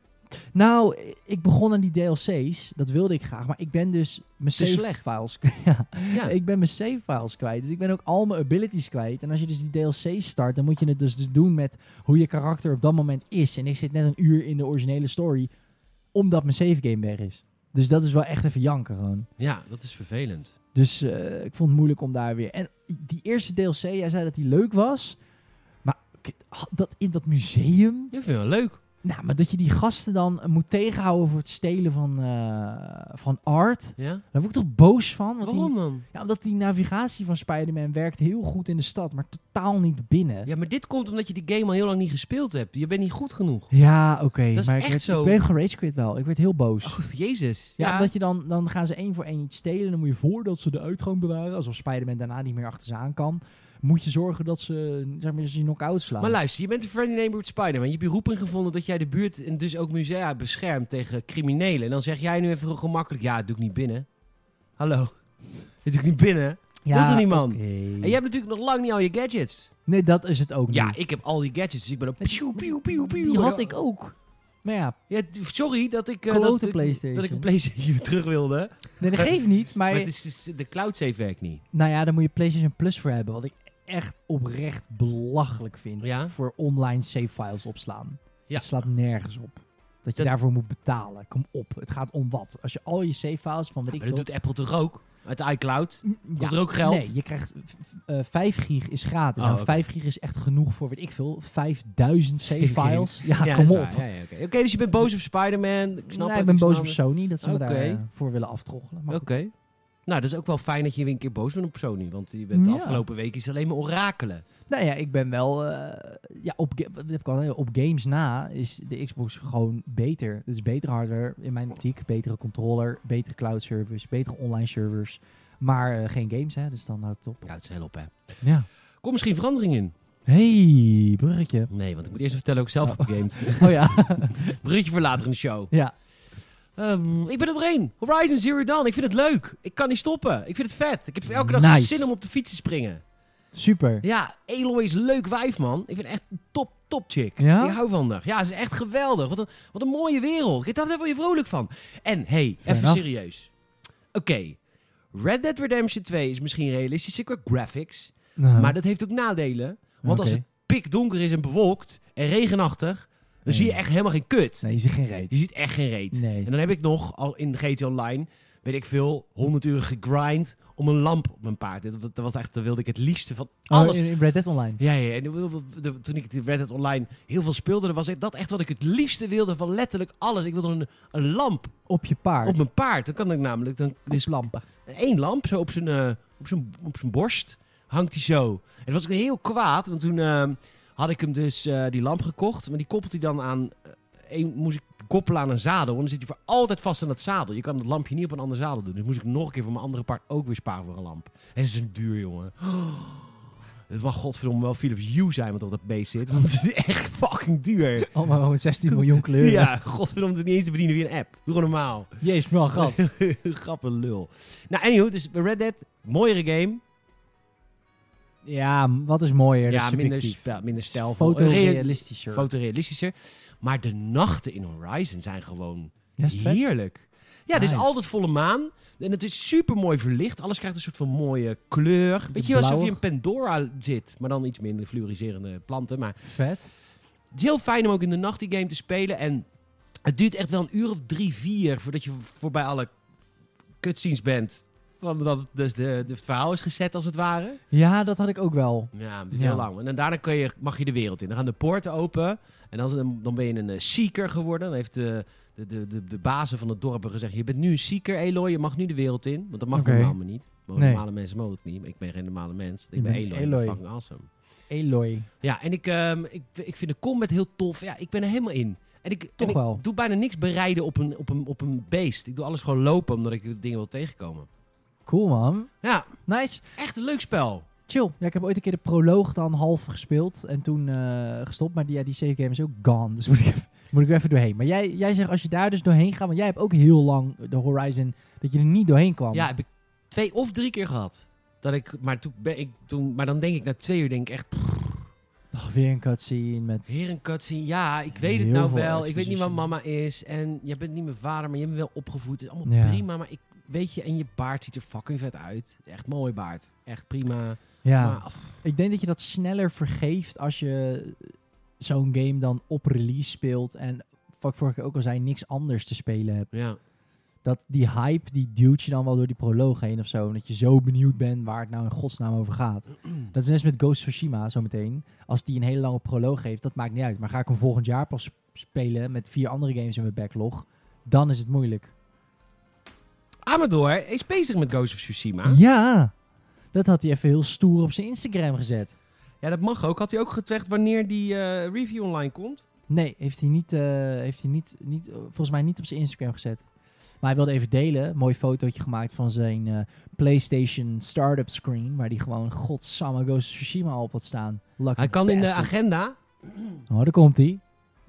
A: Nou, ik begon aan die DLC's. Dat wilde ik graag. Maar ik ben dus mijn
B: Te
A: save
B: slecht.
A: files. ja.
B: Ja.
A: Ik ben mijn save files kwijt. Dus ik ben ook al mijn abilities kwijt. En als je dus die DLC's start, dan moet je het dus doen met hoe je karakter op dat moment is. En ik zit net een uur in de originele story, omdat mijn save game weg is. Dus dat is wel echt even janken gewoon.
B: ja, dat is vervelend.
A: Dus eh, ik vond het moeilijk om daar weer. En die eerste DLC, jij zei dat die leuk was. Maar k- dat in dat museum.
B: Dat vind ik wel leuk.
A: Nou, maar dat je die gasten dan moet tegenhouden voor het stelen van, eh, van art.
B: Ja?
A: Daar word ik toch boos van? Want die-
B: Waarom dan?
A: ja, omdat die navigatie van Spider-Man werkt heel goed in de stad, maar totaal niet binnen. Ja,
B: Ja, maar dit komt omdat je die game al heel lang niet gespeeld hebt. Je bent niet goed genoeg.
A: oké.
B: Dat is
A: maar ik,
B: echt
A: werd,
B: zo.
A: ik ben geragecrit wel. Ik werd heel boos.
B: Oh, jezus.
A: Ja, omdat je dan, dan gaan ze één voor één iets stelen. Dan moet je voordat ze de uitgang bewaren, alsof Spider-Man daarna niet meer achter ze aan kan, moet je zorgen dat ze, zeg maar, ze knock-out slaan.
B: Maar luister, je bent een friendly neighborhood Spider-Man. Je hebt je roeping gevonden dat jij de buurt en dus ook musea beschermt tegen criminelen. En dan zeg jij nu even gemakkelijk, ja, dat doe ik niet binnen. Hallo, dit doe ik niet binnen.
A: ja,
B: dat is er niet, man.
A: oké.
B: En jij hebt natuurlijk nog lang niet al je gadgets.
A: Nee, dat is het ook niet.
B: Ja, ik heb al die gadgets, dus ik ben op...
A: Die-
B: Piu, piu, piu, piu.
A: Die had ik ook. Maar ja,
B: Ja, t- sorry dat ik... eh,
A: Klote
B: dat, ik-
A: PlayStation.
B: Dat ik een PlayStation weer terug wilde.
A: nee, dat geeft niet. Maar,
B: Maar het is, is- de cloud save werkt niet.
A: nou ja, daar moet je PlayStation Plus voor hebben. Wat ik echt oprecht belachelijk vind.
B: Ja?
A: Voor online save files opslaan.
B: Ja.
A: Het slaat nergens op. Dat je
B: Dat-
A: daarvoor moet betalen. Kom op. Het gaat om wat. Als je al je save files van weet
B: Maar
A: ik
B: dat
A: veel...
B: doet Apple toch ook? Uit iCloud?
A: Mm,
B: Kost er ook geld?
A: Nee, je krijgt v- v- eh, 5 gig is gratis.
B: Oh,
A: Nou,
B: oké.
A: 5 gig is echt genoeg voor, weet ik veel, 5000 save
B: Save
A: files. Ja,
B: dat
A: Ah, kom
B: is
A: op.
B: waar. Ja, ja, Oké, Oké, dus je bent boos op Spider-Man. Ik snap
A: Nee,
B: het,
A: ik ben boos
B: snap
A: op
B: het.
A: Sony dat ze me
B: Oké.
A: daarvoor willen aftroggelen. Maar
B: Oké. Nou, dat is ook wel fijn dat je weer een keer boos bent op Sony. Want je bent de
A: Ja.
B: afgelopen week is alleen maar orakelen.
A: Nou ja, ik ben wel. eh, ja, op, ga- dat heb ik al, gezegd, op games na is de Xbox gewoon beter. Het is betere hardware in mijn optiek, betere controller, betere cloud service, betere online servers. Maar eh, geen games, hè? Dus dan houdt het op.
B: Ja, het is heel op, hè.
A: Ja.
B: Komt misschien verandering in?
A: Hey, bruggetje.
B: Nee, want ik moet eerst even vertellen hoe ik zelf heb gegamed.
A: Oh ja.
B: Bruggetje voor later in de show.
A: ja.
B: Ehm, ik ben er doorheen. Horizon Zero Dawn. Ik vind het leuk. Ik kan niet stoppen. Ik vind het vet. Ik heb elke dag
A: Nice.
B: zin om op de fiets te springen.
A: Super.
B: Ja, Eloy is een leuk wijf, man. Ik vind het echt een top, top chick.
A: Ja?
B: Ik hou van haar. Ja, ze is echt geweldig. Wat een, wat een mooie wereld. Kijk, daar word je vrolijk van. En, hey, even
A: Fair enough.
B: serieus. Oké, Red Dead Redemption 2 is misschien realistischer qua graphics.
A: Nou,
B: Maar dat heeft ook nadelen. Want als
A: oké.
B: het pikdonker is en bewolkt en regenachtig, dan
A: Nee.
B: zie je echt helemaal geen kut.
A: Nee, je zegt geen reet.
B: Je ziet echt geen reet.
A: Nee.
B: En dan heb ik nog, al in GT Online, weet ik veel, 100 uur gegrind om een lamp op mijn paard. Dat, dat was echt, daar wilde ik het liefste van
A: Oh,
B: alles.
A: in, in Red Dead Online.
B: Ja, ja, en de- de- toen ik het Red Dead Online heel veel speelde, dan was dat echt wat ik het liefste wilde van letterlijk alles. Ik wilde een, een lamp
A: Op je paard.
B: op mijn paard. Dan kan ik namelijk, dan
A: dus lampen.
B: één lamp zo op zijn, eh, op zijn, op zijn borst hangt hij zo. En toen was ik heel kwaad, want toen eh, had ik hem dus eh, die lamp gekocht. Maar die koppelt hij dan aan, eh, één moest ik koppelen aan een zadel. Want dan zit hij voor altijd vast aan dat zadel. Je kan het lampje niet op een ander zadel doen. Dus moest ik nog een keer voor mijn andere paard ook weer sparen voor een lamp. En het is een duur, jongen. Het mag godverdomme wel Philips Hue zijn wat op dat beest zit. Want het is echt fucking duur.
A: Allemaal met 16 miljoen kleuren.
B: Ja, godverdomme, het is niet eens te bedienen via een app. Doe gewoon normaal.
A: Jezus, man, grap.
B: Grappen lul. Nou, anywho, dus Red Dead, mooiere game.
A: Ja, m- wat is mooier? dat
B: ja,
A: is
B: minder,
A: subjectief.
B: spe- minder stijlvol.
A: Fotorealistischer.
B: Real- Fotorealistischer. Maar de nachten in Horizon zijn gewoon
A: Ja, is het vet?
B: heerlijk. Ja, er
A: Nice.
B: is altijd volle maan. En het is super mooi verlicht. Alles krijgt een soort van mooie kleur. Weet je, wel, alsof je in
A: blauwig.
B: Pandora zit. Maar dan iets minder fluoriserende planten. Maar
A: Vet.
B: het is heel fijn om ook in de nacht die game te spelen. En het duurt echt wel een uur of drie, vier voordat je voorbij alle cutscenes bent. Van dat het- dus de, de, het verhaal is gezet als het ware.
A: Ja, dat had ik ook wel.
B: Ja, het is
A: Ja.
B: heel lang. En dan daarna kun je, mag je de wereld in. Dan gaan de poorten open. En dan, dan ben je een eh, seeker geworden. Dan heeft de, de, de, de, de bazen van het dorp gezegd... Je bent nu een seeker, Eloy. Je mag nu de wereld in. Want dat mag
A: Oké.
B: normaal maar niet. Mogen
A: Nee.
B: Normale mensen mogen het niet. Maar ik ben geen normale mens. Ik
A: Je
B: ben
A: bent
B: Eloy.
A: Eloy.
B: Fucking awesome.
A: Eloy.
B: Ja, en ik, ehm, ik, ik vind de combat heel tof. Ja, ik ben er helemaal in. En ik, en
A: Toch
B: ik
A: wel.
B: doe bijna niks bereiden op een, op, een, op een beest. Ik doe alles gewoon lopen, omdat ik de dingen wil tegenkomen.
A: Cool, man.
B: Ja,
A: Nice.
B: echt een leuk spel.
A: Chill. Ja, ik heb ooit een keer de proloog dan half gespeeld en toen eh, gestopt. Maar die, ja, die save game is ook gone. Dus moet ik even, moet ik er even doorheen. Maar jij, jij zegt als je daar dus doorheen gaat, want jij hebt ook heel lang de Horizon, dat je er niet doorheen kwam.
B: Ja, heb ik twee of drie keer gehad. Dat ik, maar, toen ben ik, toen, maar dan denk ik, na twee uur denk ik echt...
A: Nog weer een cutscene met...
B: Weer een cutscene. Ja, ik weet het
A: Heel
B: nou
A: veel
B: wel. Ik weet niet wat
A: exposition.
B: mama is. En je bent niet mijn vader, maar je bent wel opgevoed. Het is allemaal
A: Ja.
B: prima, maar ik weet je... En je baard ziet er fucking vet uit. Echt mooi baard. Echt prima.
A: Ja,
B: Maar, ach,
A: ik denk dat je dat sneller vergeeft als je zo'n game dan op release speelt. En wat ik vorige keer ook al zei, niks anders te spelen hebt.
B: ja.
A: Dat die hype, die duwt je dan wel door die proloog heen of zo. En dat je zo benieuwd bent waar het nou in godsnaam over gaat. Dat is net als met Ghost of Tsushima zometeen. Als die een hele lange proloog heeft, dat maakt niet uit. Maar ga ik hem volgend jaar pas spelen met vier andere games in mijn backlog, dan is het moeilijk.
B: Amador is bezig met Ghost of Tsushima.
A: Ja, dat had hij even heel stoer op zijn Instagram gezet.
B: Ja, dat mag ook. Had hij ook gezegd wanneer die eh, review online komt?
A: Nee, heeft hij, niet, eh, heeft hij niet, niet, eh, volgens mij niet op zijn Instagram gezet. Maar hij wilde even delen. Mooi fotootje gemaakt van zijn eh, PlayStation startup screen. Waar die gewoon godsamme Ghost of Tsushima al op had staan. Lucky
B: Hij kan in de
A: bastard.
B: agenda Oh,
A: Oh, daar komt hij.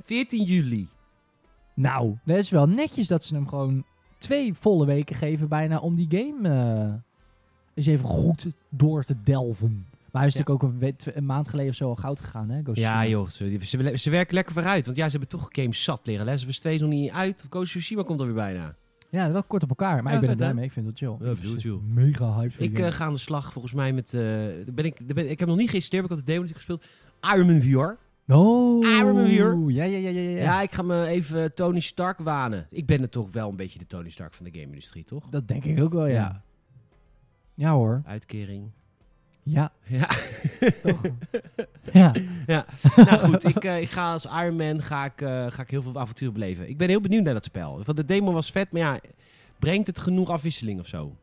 B: 14 juli.
A: Nou, dat is wel netjes dat ze hem gewoon twee volle weken geven bijna om die game eh, eens even goed door te delven. Maar hij is
B: Ja.
A: natuurlijk ook een, we- tw- een maand geleden of zo al goud gegaan, hè? Ghost of
B: Ja,
A: Tsushima.
B: joh. Ze, ze, ze werken lekker vooruit. Want ja, ze hebben toch games zat liggen. Last of Us 2 is nog niet uit. Ghost of Tsushima komt alweer bijna.
A: Ja, wel kort op elkaar. Maar
B: Ja,
A: ik ben er
B: vet,
A: blij
B: hè?
A: mee. Ik vind het chill.
B: Ja, ik bedoel het, joh.
A: Mega hype. voor die
B: Ik
A: game.
B: eh, ga aan de slag volgens mij met... eh, ben ik, ben, ik heb nog niet geïnstalleerd. maar Ik had de demo niet gespeeld. Iron Man VR.
A: Oh,
B: Iron Man hier.
A: Ja, ja, ja, ja, ja.
B: Ja. ik ga me even Tony Stark wanen. Ik ben er toch wel een beetje de Tony Stark van de game-industrie, toch?
A: Dat denk ik ook wel, ja.
B: Ja.
A: Ja, hoor.
B: Uitkering.
A: Ja,
B: Ja.
A: toch? ja.
B: nou goed, ik, eh, ik ga als Iron Man ga ik, eh, ga ik heel veel avontuur beleven. Ik ben heel benieuwd naar dat spel. Want de demo was vet, maar ja, brengt het genoeg afwisseling of zo?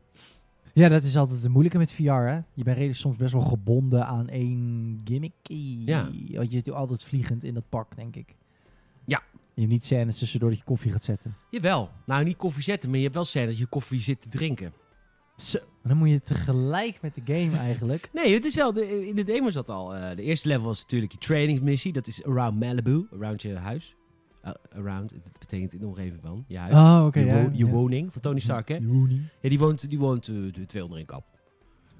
A: ja, dat is altijd het moeilijke met VR, hè. Je bent redelijk soms best wel gebonden aan één gimmick.
B: Ja.
A: Want je zit natuurlijk altijd vliegend in dat pak, denk ik.
B: Ja.
A: Je hebt niet scènes tussendoor dat je koffie gaat zetten.
B: Jawel. Nou, niet koffie zetten, maar je hebt wel scène dat je koffie zit te drinken.
A: Zo. Maar dan moet je tegelijk met de game eigenlijk.
B: Nee, het is wel, de, in de demo zat al. eh, de eerste level was natuurlijk je trainingsmissie. Dat is around Malibu, around je huis. Eh, around, het betekent in de omgeving van je huis.
A: Oh, oké.
B: je,
A: ja,
B: wo- je
A: ja. Mhm.
B: woning, van Tony Stark, hè?
A: Je woning.
B: Ja, die woont, die woont eh, de 200 in kap.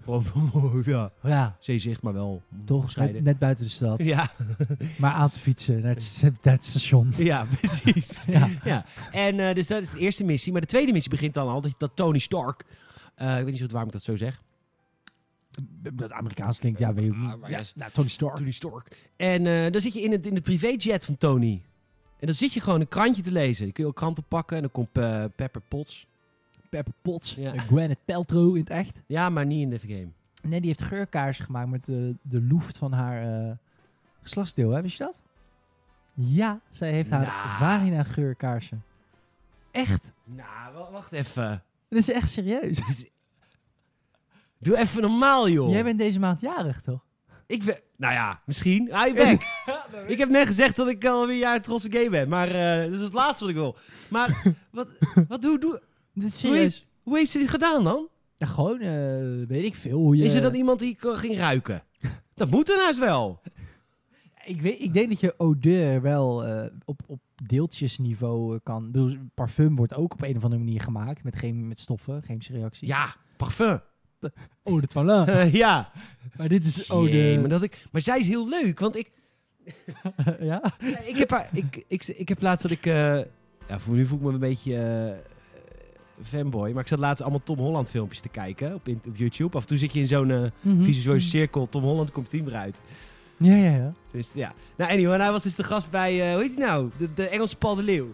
B: Gewoon, ja,
A: Ja,
B: zeezicht, maar wel
A: toch. Net,
B: bescheiden.
A: net buiten de stad.
B: Ja,
A: Maar aan te fietsen naar het, naar het station.
B: ja, precies.
A: Ja.
B: Ja, en eh, dus dat is de eerste missie. Maar de tweede missie begint dan al dat, dat Tony Stark. eh, ik weet niet zo goed waarom ik dat zo zeg.
A: Dat Amerikaans klinkt, ja, weet ik
B: Ah,
A: niet.
B: maar
A: Ja,
B: yes.
A: nou, Tony Stark.
B: Tony Stark. En eh, dan zit je in het, in het privéjet van Tony. En dan zit je gewoon een krantje te lezen. Dan kun je ook kranten pakken en dan komt eh, Pepper Potts.
A: Pepper Potts,
B: Ja.
A: eh, Gwyneth Paltrow in het echt.
B: Ja, maar niet in de game.
A: Nee, die heeft geurkaarsen gemaakt met de, de loeft van haar eh, geslachtsdeel, hè? Wist je dat? Ja, zij heeft haar
B: Nou.
A: vagina geurkaarsen. Echt?
B: Nou, wa- wacht even.
A: Dat is echt serieus.
B: Doe even normaal, joh.
A: Jij bent deze maand jarig, toch?
B: Ik ben... Nou ja, misschien. Hou je bek. ik heb net gezegd dat ik alweer een jaar een trotse gay ben. Maar eh, dat is het laatste wat ik wil. Maar wat, wat hoe, doe,
A: Dit is
B: hoe,
A: serieus.
B: heeft, hoe heeft ze dit gedaan dan?
A: Ja, gewoon, eh, weet ik veel. Hoe je...
B: Is er dan iemand die k- ging ruiken? Dat moet er naast wel.
A: ik, weet, ik denk dat je odeur wel eh, op, op deeltjesniveau eh, kan... Ik bedoel, parfum wordt ook op een of andere manier gemaakt. Met, geen, met stoffen, chemische reactie.
B: Ja, parfum.
A: Oh, de toilet.
B: Eh, ja.
A: Maar dit is
B: oh
A: oh de...
B: maar, dat ik, maar zij is heel leuk, want ik,
A: ja?
B: ja, ik, heb, haar, ik, ik, ik heb laatst dat ik... eh, ja, voor nu voel ik me een beetje eh, fanboy. Maar ik zat laatst allemaal Tom Holland filmpjes te kijken op, in- op YouTube. Af en toe zit je in zo'n eh,
A: Hm?
B: visuele cirkel. Tom Holland komt team eruit.
A: Ja, ja, ja.
B: Dus ja. Nou, anyway, en hij was dus de gast bij, eh, hoe heet hij nou? De, de Engelse Paul de Leeuw.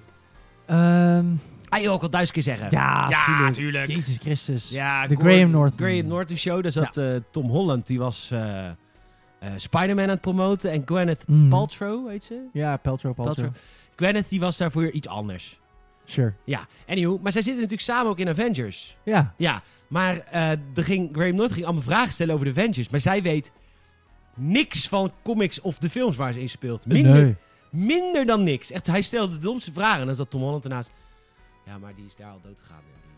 A: Ehm,
B: Ah joh, ik al duizend keer zeggen.
A: ja,
B: Ja,
A: tuurlijk.
B: tuurlijk.
A: Jezus Christus.
B: Ja,
A: De
B: Gordon-
A: Graham Norton.
B: Graham Norton Show. Daar zat eh, Tom Holland, die was eh eh, Spider-Man aan het promoten. En Gwyneth
A: Mhm.
B: Paltrow, heet ze?
A: Ja, Peltro, Peltro.
B: Paltrow. Gwyneth, die was daarvoor iets anders.
A: Sure.
B: Ja, anywho. Maar zij zitten natuurlijk samen ook in Avengers.
A: Ja.
B: Ja, maar eh er ging, Graham Norton ging allemaal vragen stellen over de Avengers. Maar zij weet niks van comics of de films waar ze in speelt. Minder,
A: Nee.
B: minder dan niks. Echt, hij stelde de domste vragen. En dan zat Tom Holland ernaast. Ja, maar die is daar al dood gegaan. En die-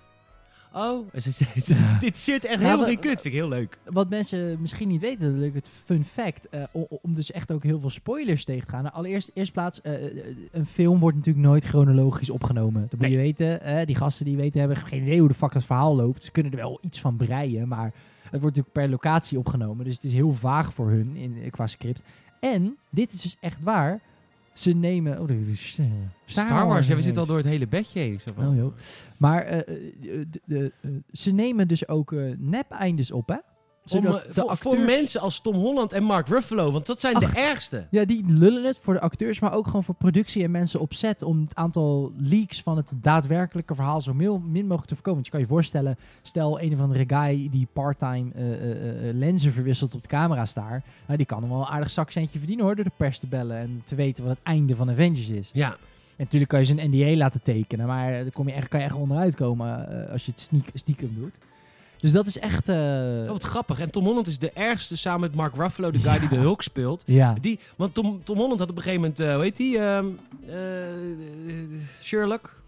B: Oh, en ze, ze- ze- dit zit echt
A: Ja,
B: helemaal
A: maar-
B: geen kut. Vind ik heel leuk.
A: Wat mensen misschien niet weten, leuk het fun fact, eh, o- o- om dus echt ook heel veel spoilers tegen te gaan. Nou, Allereerst, eerst plaats, eh, eh, een film wordt natuurlijk nooit chronologisch opgenomen. Dat moet
B: Nee.
A: je weten. eh, die gasten die weten hebben geen idee hoe de fuck dat verhaal loopt. Ze kunnen er wel iets van breien, maar het wordt natuurlijk per locatie opgenomen. Dus het is heel vaag voor hun in, qua script. En, dit is dus echt waar, ze nemen... Oh, dat is Star,
B: Star Wars, ja, we
A: ineens.
B: zitten al door het hele bedje heen. Zo van-
A: Oh, joh. Maar eh, eh, de- de- eh, ze nemen dus ook eh nep-eindes op, hè?
B: Om, eh,
A: Zodat de
B: voor, voor
A: acteurs-
B: mensen als Tom Holland en Mark Ruffalo, want dat zijn
A: Ach.
B: de ergste.
A: Ja, die lullen het voor de acteurs, maar ook gewoon voor productie en mensen op set. Om het aantal leaks van het daadwerkelijke verhaal zo mil- min mogelijk te voorkomen. Want je kan je voorstellen, stel een of andere guy die part-time eh, eh, eh, lenzen verwisselt op de camera's daar. Nou, die kan hem wel een aardig zakcentje verdienen hoor, door de pers te bellen en te weten wat het einde van Avengers is.
B: Ja,
A: En natuurlijk kan je ze een NDA laten tekenen, maar daar kom je echt, kan je echt onderuit komen eh, als je het sneak, stiekem doet. Dus dat is echt... eh,
B: Oh, wat grappig. En Tom Holland is de ergste samen met Mark Ruffalo, de guy die de Hulk speelt.
A: ja.
B: Die, want Tom, Tom Holland had op een gegeven moment, eh hoe heet die? ehm, eh, Sherlock?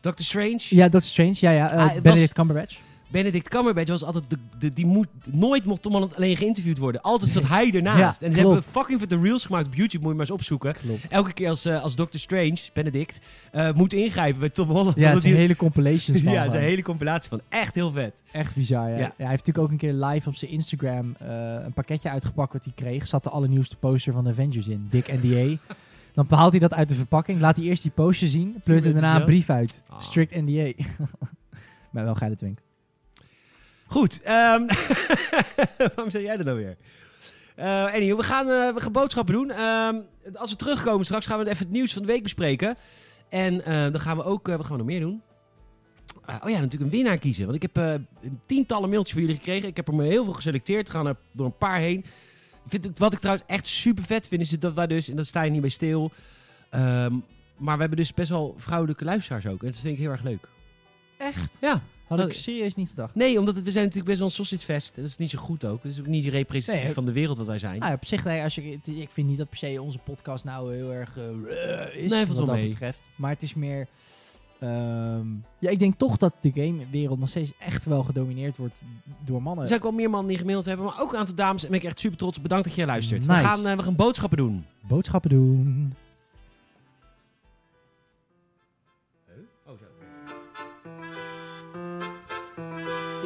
B: Doctor Strange?
A: Ja, Doctor Strange. Ja, ja. eh,
B: Ah, het was-
A: Benedict Cumberbatch.
B: Benedict Cumberbatch was altijd de, de- die moet nooit mocht Tom Holland alleen geïnterviewd worden. Altijd zat hij ernaast.
A: Ja,
B: en ze
A: klopt.
B: hebben fucking veel de reels gemaakt op YouTube, moet je maar eens opzoeken.
A: Klopt.
B: Elke keer als, eh, als Doctor Strange, Benedict, eh, moet ingrijpen bij Tom Holland.
A: Ja,
B: omdat
A: het zijn
B: die-
A: hele compilations van.
B: ja,
A: hem.
B: zijn hele compilatie van. Echt heel vet.
A: Echt bizar, ja.
B: Ja.
A: Ja, Hij heeft natuurlijk ook een keer live op zijn Instagram eh, een pakketje uitgepakt wat hij kreeg. Zat de allernieuwste poster van de Avengers in. Dick NDA. Dan haalt hij dat uit de verpakking. Laat hij eerst die poster zien. Pleurt er
B: bent
A: daarna
B: het
A: een brief uit.
B: Ah.
A: Strict NDA. maar wel geile twink.
B: Goed. ehm, waarom zeg jij dat nou weer? Eh anyway, we gaan, eh, we gaan boodschappen doen. Ehm, als we terugkomen straks gaan we even het nieuws van de week bespreken. En eh, dan gaan we ook, eh, wat gaan we nog meer doen? Eh, oh ja, natuurlijk een winnaar kiezen. Want ik heb eh, tientallen mailtjes voor jullie gekregen. Ik heb er maar heel veel geselecteerd. We gaan er door een paar heen. Ik Vind het, wat ik trouwens echt super vet vind, is dat wij dus, en dat sta je niet bij stil. ehm, maar we hebben dus best wel vrouwelijke luisteraars ook. En dat vind ik heel erg leuk.
A: Echt?
B: Ja.
A: Had
B: Dat-
A: ik serieus niet gedacht.
B: Nee, omdat het- we zijn natuurlijk best wel een sausagefest. Dat is niet zo goed ook. Dat is ook niet representatief
A: Nee,
B: van de wereld wat wij zijn.
A: Ah, ja, op zich, nee, als je, het- ik vind niet dat per se onze podcast nou heel erg eh, eh,
B: Nee,
A: is,
B: valt
A: wat
B: wel
A: dat
B: mee.
A: betreft. Maar het is meer... ehm, ja, ik denk toch dat de gamewereld nog steeds echt wel gedomineerd wordt door mannen.
B: Er zijn ook wel meer mannen die gemaild hebben, maar ook een aantal dames. En ben ik echt super trots. Bedankt dat je luistert. We,
A: Nice.
B: gaan, eh, we gaan boodschappen doen.
A: Boodschappen doen.
B: Oh, zo.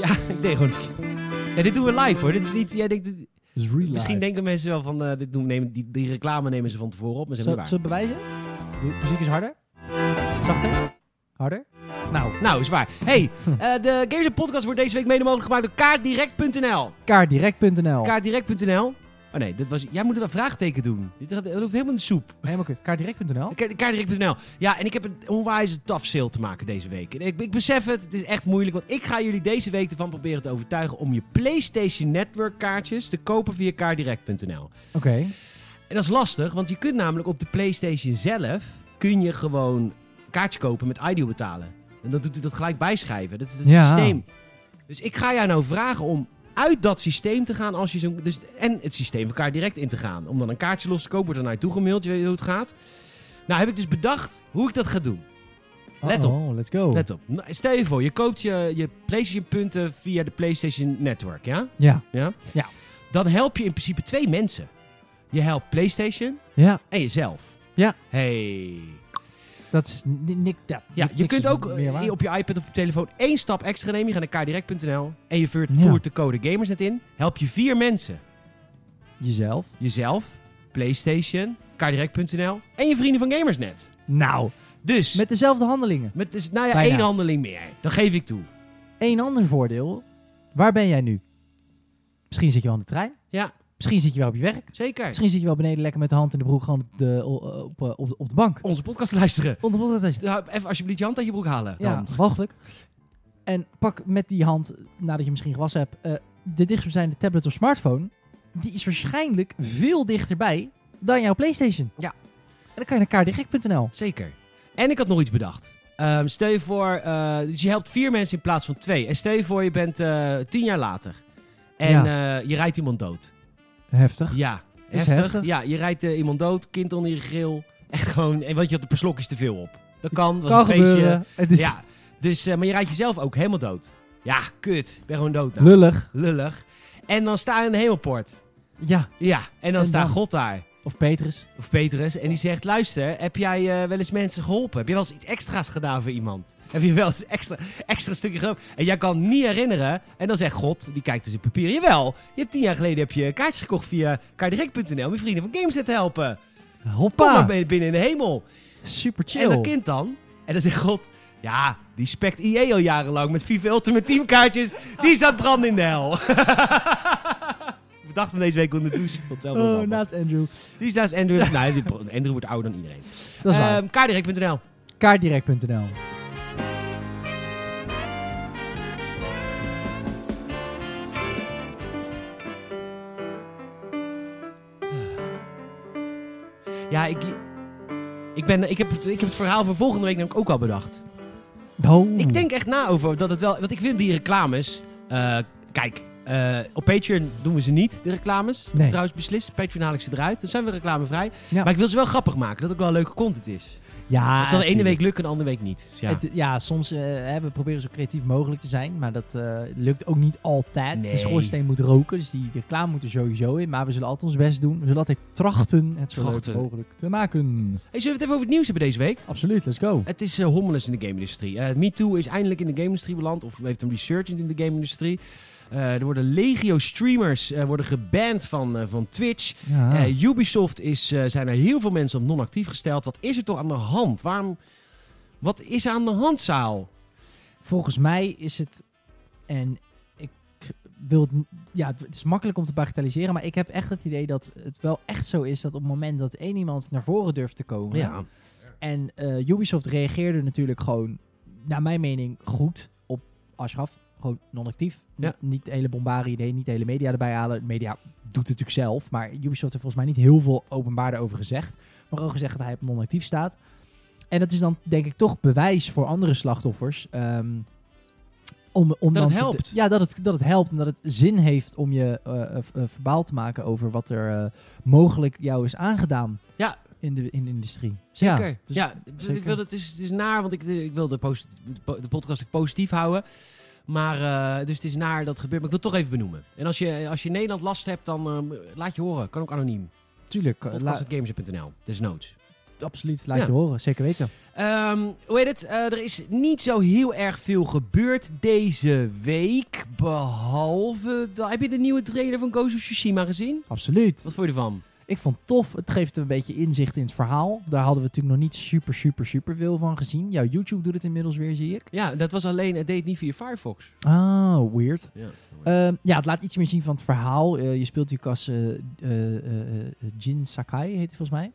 B: Ja, ik deed gewoon... verkeerd. Ja, dit doen we live hoor. Dit is niet... Jij denkt, dit-
A: Dus real
B: misschien denken mensen wel van... eh, dit doen, nemen, die, die reclame nemen ze van tevoren op, maar ze
A: Zal
B: zijn niet
A: zullen we bewijzen? De muziek is harder. Zachter. Harder. Nou,
B: waar. Nou, is waar. hey, eh, de Games Podcast wordt deze week mede mogelijk gemaakt door kaartdirect.nl.
A: kaartdirect.nl.
B: Kaartdirect.nl. Oh nee, dat was, jij moet er een vraagteken doen. Dit gaat- dat loopt helemaal in de soep.
A: Helemaal goed. Kaartdirect.nl.
B: Ka- Kaartdirect.nl. Ja, en ik heb een onwijs tough sale te maken deze week. En Ik, ik besef het, het is echt moeilijk. Want ik ga jullie deze week ervan proberen te overtuigen om je PlayStation Network kaartjes te kopen via kaartdirect.nl.
A: Oké.
B: En dat is lastig, want je kunt namelijk op de PlayStation zelf kun je gewoon een kaartje kopen met iDeal betalen. En dan doet hij dat gelijk bijschrijven. Dat is het
A: Ja.
B: systeem. Dus ik ga jou nou vragen om uit dat systeem te gaan als je zo'n dus, en het systeem van elkaar direct in te gaan. Om dan een kaartje los te kopen, wordt er naar je toegemaild, je weet hoe het gaat. Nou heb ik dus bedacht hoe ik dat ga doen. Let op.
A: Oh, let's go.
B: Let op. Nou, Stel je voor, je koopt je, je PlayStation punten via de PlayStation Network, ja?
A: Ja.
B: ja?
A: Ja.
B: Dan help je in principe twee mensen. Je helpt PlayStation
A: Ja.
B: en jezelf.
A: Ja.
B: Hey.
A: Dat is ni- ni- ja,
B: Ja,
A: niks
B: je kunt ook
A: meer
B: eh,
A: waar.
B: op je iPad of op je telefoon één stap extra nemen. Je gaat naar kdirect.nl en je voert,
A: Ja.
B: voert de code Gamersnet in. Help je vier mensen.
A: jezelf.
B: Jezelf, PlayStation, kdirect.nl en je vrienden van Gamersnet.
A: Nou,
B: Dus, met,
A: met dezelfde handelingen.
B: dus, nou ja,
A: Bijna.
B: één handeling meer. Dat geef ik toe.
A: Eén ander voordeel. Waar ben jij nu? Misschien zit je wel aan de trein.
B: Ja,
A: Misschien zit je wel op je werk.
B: zeker.
A: Misschien zit je wel beneden lekker met de hand in de broek gewoon op de, op, op, op, op de bank.
B: Onze podcast luisteren.
A: Onder de podcaststation.
B: Dus hou Even alsjeblieft je hand uit je broek halen.
A: Ja,
B: Dan.
A: mogelijk. En pak met die hand, nadat je misschien gewassen hebt, eh de dichtstbijzijnde tablet of smartphone. Die is waarschijnlijk veel dichterbij dan jouw PlayStation.
B: Ja.
A: En dan kan je naar kaartdirect.nl.
B: Zeker. En ik had nog iets bedacht. Ehm, stel je voor, eh, dus je helpt vier mensen in plaats van twee. En stel je voor, je bent eh, tien jaar later. En eh, je rijdt iemand dood.
A: Heftig.
B: Ja,
A: Is
B: heftig.
A: heftig.
B: Ja, je rijdt eh, iemand dood, kind onder je grill. Echt gewoon, en want je had er per slokjes te veel op. Dat kan, was
A: Kan
B: een feestje.
A: gebeuren. Het is
B: Ja, dus, eh, maar je rijdt jezelf ook helemaal dood. Ja, kut. Ik ben gewoon dood nou.
A: lullig.
B: Lullig. En dan sta je in de hemelpoort.
A: Ja.
B: Ja, en dan
A: En
B: staat
A: dan?
B: God daar.
A: Of Petrus.
B: Of Petrus. En die zegt, luister, heb jij eh, wel eens mensen geholpen? Heb je wel eens iets extra's gedaan voor iemand? Heb je wel eens extra, extra stukje geholpen? En jij kan niet herinneren. En dan zegt God, die kijkt dus in papieren. Jawel, je hebt tien jaar geleden heb je kaartjes gekocht via kaartdirect.nl. Om je vrienden van Gameset te helpen. Kom maar
A: Hoppa.
B: mee binnen in de hemel.
A: Super
B: En
A: chill.
B: dat kind dan. En dan zegt God, ja, die spekt IE al jarenlang met FIFA Ultimate Team kaartjes. Die zat brand in de hel. Ik bedacht me deze week onder de douche. Ik vond het zelf wel
A: Oh,
B: grappig.
A: naast Andrew.
B: Die is naast Andrew. nee, die- Andrew wordt ouder dan iedereen.
A: Dat is waar.
B: Ehm, kaartdirect.nl.
A: Kaartdirect.nl.
B: Ja, ik, ik, ben, ik, heb, het- ik heb het verhaal voor volgende week namelijk ook al bedacht.
A: Oh.
B: Ik denk echt na over dat het wel... Want ik vind die reclames... eh, kijk, eh, op Patreon doen we ze niet, de reclames.
A: Nee.
B: Trouwens, beslist. Patreon haal ik ze eruit. Dan zijn we reclamevrij.
A: Ja.
B: Maar ik wil ze wel grappig maken. Dat ook wel leuke content is.
A: Ja,
B: het zal de ene
A: natuurlijk.
B: week lukken en de andere week niet. Dus ja.
A: Het- ja, soms eh, hè, we proberen zo creatief mogelijk te zijn, maar dat eh, lukt ook niet altijd.
B: Nee.
A: De schoorsteen moet roken, dus die reclame moet er sowieso in. Maar we zullen altijd ons best doen. We zullen altijd trachten het zo leuk
B: Trachten.
A: mogelijk te maken.
B: Hey, zullen we het even over het nieuws hebben deze week?
A: Absoluut, let's go.
B: Het is eh, hommeles in de game-industrie. Eh MeToo is eindelijk in de game-industrie beland, of heeft een resurgent in de game-industrie. Eh, er worden legio-streamers eh, worden geband van, eh, van Twitch.
A: Ja.
B: Eh, Ubisoft is, eh, zijn er heel veel mensen op non-actief gesteld. Wat is er toch aan de hand? Waarom, wat is er aan de hand, Saal?
A: Volgens mij is het. En ik wil het. n- Ja, het- het is makkelijk om te bagatelliseren. Maar ik heb echt het idee dat het wel echt zo is dat op het moment dat één iemand naar voren durft te komen. En eh, Ubisoft reageerde natuurlijk gewoon, naar mijn mening, goed op Ashraf. Gewoon non-actief. N-
B: Ja.
A: Niet de hele bombari idee, niet de hele media erbij halen. De media doet het natuurlijk zelf. Maar Ubisoft heeft volgens mij niet heel veel openbaar over gezegd. Maar ook gezegd dat hij op non-actief staat. En dat is dan denk ik toch bewijs voor andere slachtoffers. ehm, om,
B: Dat
A: om dan
B: het
A: te-
B: helpt.
A: ja, dat het, dat het helpt en dat het zin heeft om je eh, eh, v- eh, verbaal te maken over wat er eh, mogelijk jou is aangedaan
B: Ja.
A: in, de, in de industrie. Ja,
B: Zeker. Ja,
A: dus-
B: ik- Ik
A: zeker.
B: wil, het, is, het is naar, want ik, ik wil de, posit- de podcast ook positief houden. Maar, eh, dus het is naar dat het gebeurt. Maar ik wil het toch even benoemen. En als je, als je in Nederland last hebt, dan eh, laat je horen. Kan ook anoniem.
A: Tuurlijk, eh, la-
B: Podcast.gamers.nl. Desnoods.
A: absoluut. Laat
B: Ja.
A: je horen, zeker weten.
B: Ehm, hoe heet het? Eh, er is niet zo heel erg veel gebeurd deze week. Behalve... dat- Heb je de nieuwe trailer van Ghost of Tsushima gezien?
A: Absoluut.
B: Wat vond je ervan?
A: Ik vond het tof. Het geeft een beetje inzicht in het verhaal. Daar hadden we natuurlijk nog niet super, super, super veel van gezien. Jouw YouTube doet het inmiddels weer, zie ik.
B: Ja, dat was alleen... Het deed niet via Firefox. Eh,
A: Ah, weird.
B: Ja.
A: Ehm, ja, het laat iets meer zien van het verhaal. Eh, je speelt natuurlijk als eh, eh, eh, eh, Jin Sakai, heet hij volgens mij.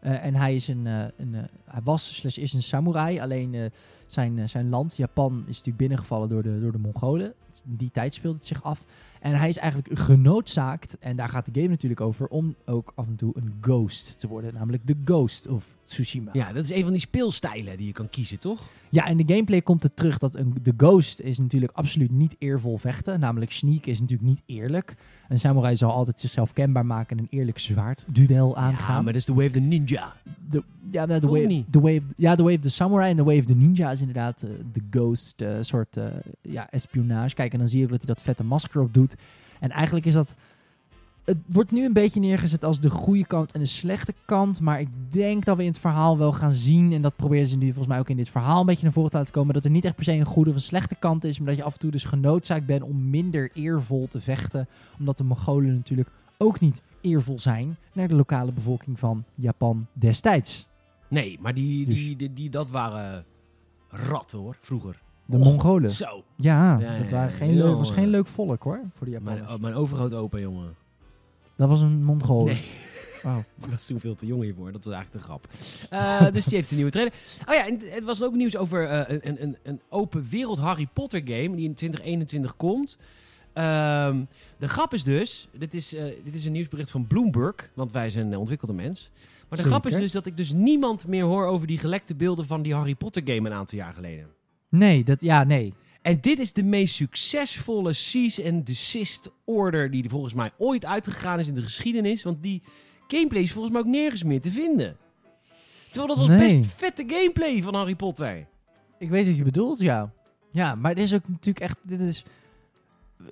A: Eh, en hij, is een, eh, een, eh, hij was slash is een samurai. Alleen eh, zijn, eh, zijn land, Japan, is natuurlijk binnengevallen door de, door de Mongolen. In die tijd speelt het zich af. En hij is eigenlijk genoodzaakt, en daar gaat de game natuurlijk over, om ook af en toe een ghost te worden. Namelijk de Ghost of Tsushima.
B: ja, dat is een van die speelstijlen die je kan kiezen, toch?
A: Ja, in de gameplay komt het terug dat een, de ghost is natuurlijk absoluut niet eervol vechten. Namelijk sneak is natuurlijk niet eerlijk. Een samurai zal altijd zichzelf kenbaar maken en een eerlijk zwaardduel aangaan.
B: Ja, maar dat is de Wave the Ninja.
A: de, ja, nou, de
B: Toch
A: way,
B: niet?
A: de way of, ja, de way of the samurai en de way of the ninja is inderdaad eh, de ghost eh, soort eh, ja, espionage. Kijk, en dan zie je ook dat hij dat vette masker op doet. En eigenlijk is dat... Het wordt nu een beetje neergezet als de goede kant en de slechte kant. Maar ik denk dat we in het verhaal wel gaan zien. En dat proberen ze nu volgens mij ook in dit verhaal een beetje naar voren te laten komen. Dat er niet echt per se een goede of een slechte kant is. Maar dat je af en toe dus genoodzaakt bent om minder eervol te vechten. Omdat de Mongolen natuurlijk ook niet eervol zijn naar de lokale bevolking van Japan destijds.
B: Nee, maar die,
A: Dus.
B: die, die, die- dat waren ratten, hoor. Vroeger.
A: De
B: Och,
A: Mongolen.
B: Zo.
A: Ja,
B: Ja,
A: dat
B: ja,
A: waren
B: ja,
A: geen
B: heel,
A: leuk, was
B: eh,
A: geen leuk volk hoor, voor de Japanners.
B: Mijn, mijn overgroot opa, jongen.
A: dat was een Mongool.
B: Nee.
A: Oh.
B: Ik was toen veel te jong hiervoor. Dat was eigenlijk een grap. Eh, dus die heeft een nieuwe trailer. Oh ja, en t- het was ook nieuws over eh, een- een, een, een open wereld Harry Potter game die in 2021 komt. Ehm, de grap is dus, dit is, eh, dit is een nieuwsbericht van Bloomberg, want wij zijn een ontwikkelde mens. Maar de grap is
A: Zeker.
B: dus dat ik dus niemand meer hoor over die gelekte beelden van die Harry Potter game een aantal jaar geleden.
A: Nee, dat, ja, nee.
B: En dit is de meest succesvolle cease and desist order die er volgens mij ooit uitgegaan is in de geschiedenis. Want die gameplay is volgens mij ook nergens meer te vinden. Terwijl dat was
A: Nee.
B: best vette gameplay van Harry Potter.
A: Ik weet wat je bedoelt, ja. Ja, maar dit is ook natuurlijk echt, dit is...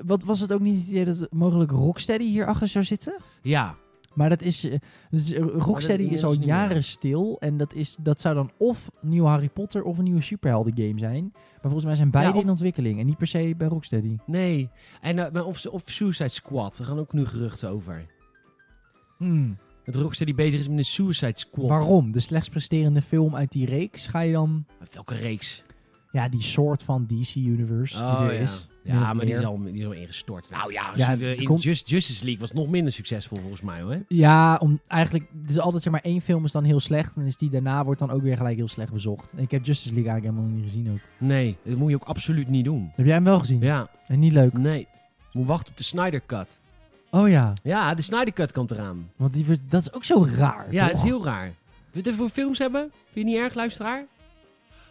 A: Wat was het ook niet het idee dat mogelijk Rocksteady hierachter zou zitten?
B: Ja,
A: Maar dat is, eh, dat is eh, Rocksteady
B: dat
A: is
B: doen
A: al
B: ze niet meer.
A: jaren stil. En dat, is, dat zou dan of een nieuwe Harry Potter of een nieuwe superhelden game zijn. Maar volgens mij zijn beide
B: Ja, of-
A: in ontwikkeling. En niet per se bij Rocksteady.
B: Nee. En, eh, maar of, of Suicide Squad. Daar gaan ook nu geruchten over. Dat Rocksteady bezig is met een Suicide Squad.
A: Waarom? De slechts presterende film uit die reeks ga je dan...
B: Ah, Welke reeks? Oh,
A: Ja, die soort van DC-universe die er
B: ja.
A: is. min
B: Ja,
A: of
B: maar die is,
A: meer.
B: al, die is al ingestort. Nou ja,
A: Ja,
B: de-
A: het
B: in
A: komt-
B: Just- Justice League was nog minder succesvol volgens mij hoor.
A: Ja, om eigenlijk... Het is altijd zeg maar één film is dan heel slecht. En is die daarna wordt dan ook weer gelijk heel slecht bezocht. En ik heb Justice League eigenlijk helemaal niet gezien ook.
B: Nee, dat moet je ook absoluut niet doen.
A: Heb jij hem wel gezien?
B: Ja,
A: En niet leuk.
B: nee. Moet wachten op de Snyder Cut.
A: Oh ja,
B: Ja, de Snyder Cut komt eraan.
A: want die, werd- dat is ook zo raar.
B: Ja,
A: toch?
B: dat is heel raar. Wil je het even voor films hebben? Vind je het niet erg, luisteraar?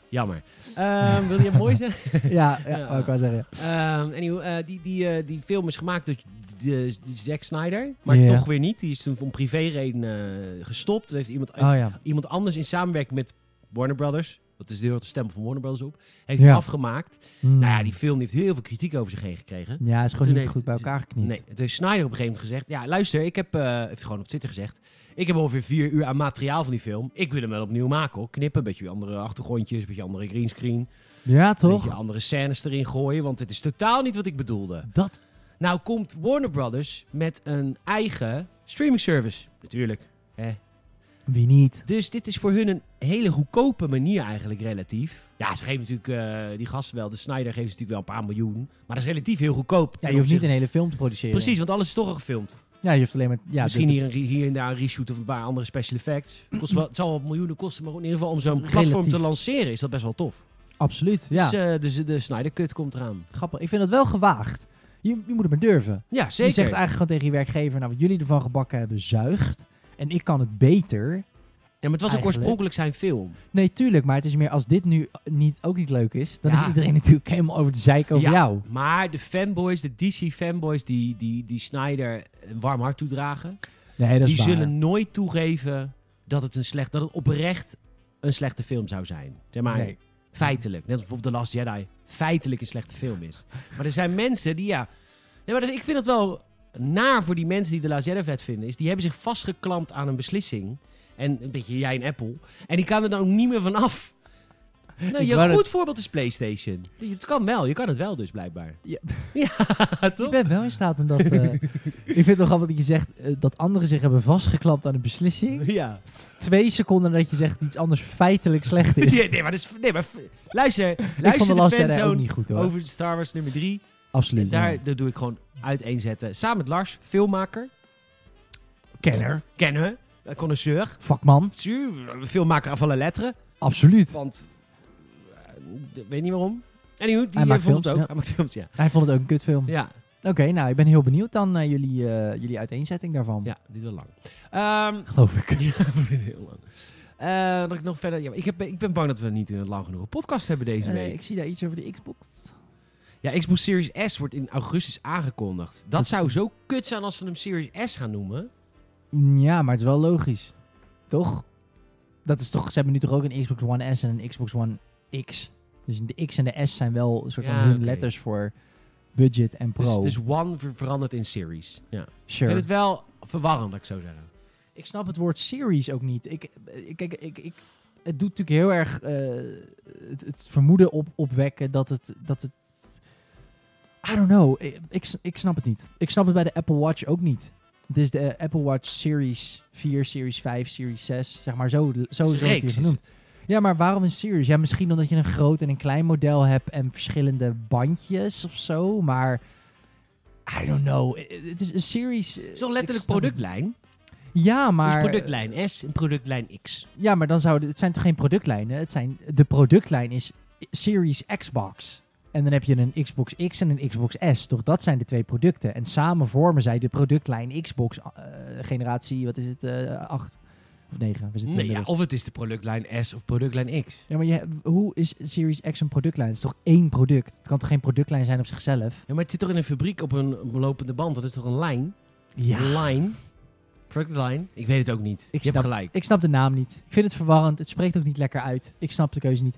B: Jammer. Ehm, wil je het mooi zeggen?
A: Ja, ja,
B: Ja.
A: wou ik wel zeggen. ja.
B: Ehm anyhow, eh, die, die, eh, die film is gemaakt door d- de, de Zack Snyder. Maar
A: Ja.
B: toch weer niet. Die is toen om privéredenen eh, gestopt. Toen heeft iemand,
A: Oh ja.
B: iemand anders in samenwerking met Warner Brothers... Dat is de hele stem van Warner Brothers op. Heeft
A: Ja.
B: hem afgemaakt.
A: Hmm.
B: Nou ja, die film heeft heel veel kritiek over zich heen gekregen.
A: Ja, is
B: Toen
A: gewoon niet
B: heeft-
A: goed bij elkaar geknipt.
B: Nee, toen heeft Snyder op een gegeven moment gezegd... Ja, luister, ik heb... eh heeft gewoon op Twitter gezegd... Ik heb ongeveer vier uur aan materiaal van die film. Ik wil hem wel opnieuw maken, hoor. Knippen, een beetje andere achtergrondjes, een beetje andere greenscreen.
A: Ja,
B: Een
A: toch?
B: beetje andere scènes erin gooien, want het is totaal niet wat ik bedoelde.
A: Dat...
B: Nou komt Warner Brothers met een eigen streaming service. Natuurlijk. hè.
A: Wie niet?
B: Dus dit is voor hun een hele goedkope manier eigenlijk relatief. Ja, ze geven natuurlijk eh, die gasten wel. De Snyder geeft ze natuurlijk wel een paar miljoen. Maar dat is relatief heel goedkoop. ten
A: Ja, je hoeft niet
B: opzichte-
A: een hele film te produceren.
B: Precies, want alles is toch al gefilmd.
A: Ja, je hoeft alleen maar... Ja,
B: Misschien
A: de-
B: hier, en re- hier en daar een reshoot of een paar andere special effects. Kost wel, het zal wel miljoenen kosten, maar in ieder geval om zo'n
A: Relatief.
B: platform te lanceren is dat best wel tof.
A: Absoluut, ja.
B: Dus, eh, dus de Snyder-cut komt eraan.
A: Grappig. Ik vind dat wel gewaagd. Je, je moet het maar durven.
B: Ja,
A: Je
B: zeker.
A: zegt eigenlijk gewoon tegen je werkgever... Nou, wat jullie ervan gebakken hebben, zuigt. En ik kan het beter.
B: ja, maar het was ook
A: eigenlijk-
B: oorspronkelijk zijn film.
A: Nee, tuurlijk. Maar het is meer als dit nu niet, ook niet leuk is... dan
B: Ja.
A: is iedereen natuurlijk helemaal over de zeik over
B: Ja,
A: jou.
B: Maar de fanboys, de DC-fanboys die, die, die Snyder een warm hart toedragen,
A: Nee, dat is
B: die
A: waar.
B: zullen nooit toegeven dat het, een slecht, dat het oprecht een slechte film zou zijn. Zeg maar,
A: Nee.
B: feitelijk. Net als bijvoorbeeld The Last Jedi feitelijk een slechte film is. maar er zijn mensen die, ja... Nee, maar dat- ik vind het wel naar voor die mensen die The Last Jedi vet vinden. Is, die hebben zich vastgeklampt aan een beslissing. En een beetje jij en Apple. En die kan er dan ook niet meer van af. Nou,
A: Ik
B: je
A: wou
B: goed
A: dat-
B: voorbeeld is PlayStation. Het kan wel, je kan het wel dus blijkbaar.
A: Ja.
B: Ja,
A: Ik
B: toch?
A: ben wel in staat om dat... eh, ik vind het wel grappig dat je zegt eh, dat anderen zich hebben vastgeklapt aan een beslissing.
B: Ja.
A: Twee seconden nadat je zegt dat iets anders feitelijk slecht is.
B: Nee, maar, dat is, nee, maar f- luister,
A: ik vond de
B: luister de,
A: Last Jedi ook
B: fanzone
A: niet goed hoor.
B: over Star Wars nummer 3.
A: Absoluut. ja.
B: Daar, daar doe ik gewoon uiteenzetten. Samen met Lars, filmmaker.
A: Kenner.
B: Kennen, eh, connoisseur.
A: Vakman.
B: Zuur, filmmaker van alle letteren.
A: Absoluut.
B: Want, eh, d- weet niet waarom. Anywho, die
A: Hij
B: eh,
A: maakt
B: vond het
A: films,
B: ook.
A: ja.
B: Hij maakt films, ja.
A: Hij vond het ook een kutfilm.
B: Ja,
A: Oké, nou, ik ben heel benieuwd dan eh, jullie, eh, jullie uiteenzetting daarvan.
B: ja dit is wel lang. Ehm,
A: Geloof ik.
B: ja, heel lang. Eh, dat ik nog verder... Ja, ik, heb, ik ben bang dat we niet een lang genoeg een podcast hebben deze
A: Eh,
B: week.
A: ik zie daar iets over de Xbox.
B: Ja, Xbox Series S wordt in augustus aangekondigd. Dat,
A: Dat is-
B: zou zo kut zijn als ze hem Series S gaan noemen.
A: Mm, Ja, maar het is wel logisch. Toch? Dat is toch, ze hebben nu toch ook een Xbox One S en een Xbox One X. Dus de X en de S zijn wel een soort
B: Ja,
A: van hun
B: oké.
A: letters voor budget en pro.
B: Dus, dus One ver- verandert in Series. Ja. Ik
A: sure.
B: vind het wel verwarrend, dat ik zo zeggen.
A: Ik snap het woord series ook niet. Ik, eh, kijk, ik, ik, het doet natuurlijk heel erg eh, het, het vermoeden op, opwekken dat het, dat het... I don't know. Ik, ik, s- ik snap het niet. Ik snap het bij de Apple Watch ook niet. Dus de eh, Apple Watch Series 4, Series 5, Series 6, zeg maar zo, zo, zo
B: Dus
A: wordt
B: reeks
A: die
B: is
A: genoemd.
B: het.
A: Ja, maar waarom een series? Ja, misschien omdat je een groot en een klein model hebt en verschillende bandjes of zo, maar I don't know. Eh, eh, Het is een series. eh,
B: Het is wel
A: ik
B: letterlijk
A: snap het
B: productlijn.
A: niet. Ja, maar
B: Dus productlijn S en productlijn X.
A: ja, maar dan zouden het zijn toch geen productlijnen? Het zijn, de productlijn is Series Xbox. En dan heb je een Xbox X en een Xbox S. Toch dat zijn de twee producten. En samen vormen zij de productlijn Xbox eh, generatie, wat is het, eh 8 of 9? We zitten
B: Nee, ja,
A: inmiddels.
B: of het is de productlijn S of productlijn X.
A: Ja, maar je, hoe is Series X een productlijn? Het is toch één product? Het kan toch geen productlijn zijn op zichzelf?
B: Ja, maar het zit toch in een fabriek op een, op een lopende band? Dat is toch een lijn? Een
A: Ja.
B: lijn? Productlijn? Ik weet het ook niet.
A: Ik
B: je hebt
A: snap-
B: gelijk.
A: Ik snap de naam niet. Ik vind het verwarrend. Het spreekt ook niet lekker uit. Ik snap de keuze niet.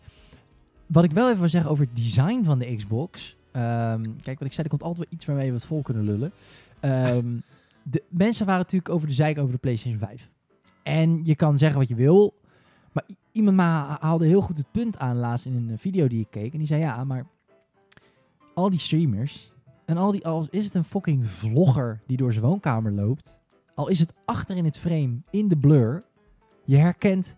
A: Wat ik wel even wil zeggen over het design van de Xbox. Ehm, kijk, wat ik zei, er komt altijd wel iets waarmee we het vol kunnen lullen. Ehm, de mensen waren natuurlijk over de zeik over de PlayStation 5. En je kan zeggen wat je wil. Maar i- iemand ma- haalde heel goed het punt aan laatst in een eh, video die ik keek. En die zei ja, maar al die streamers en al die, al is het een fucking vlogger die door zijn woonkamer loopt. Al is het achter in het frame, in de blur. Je herkent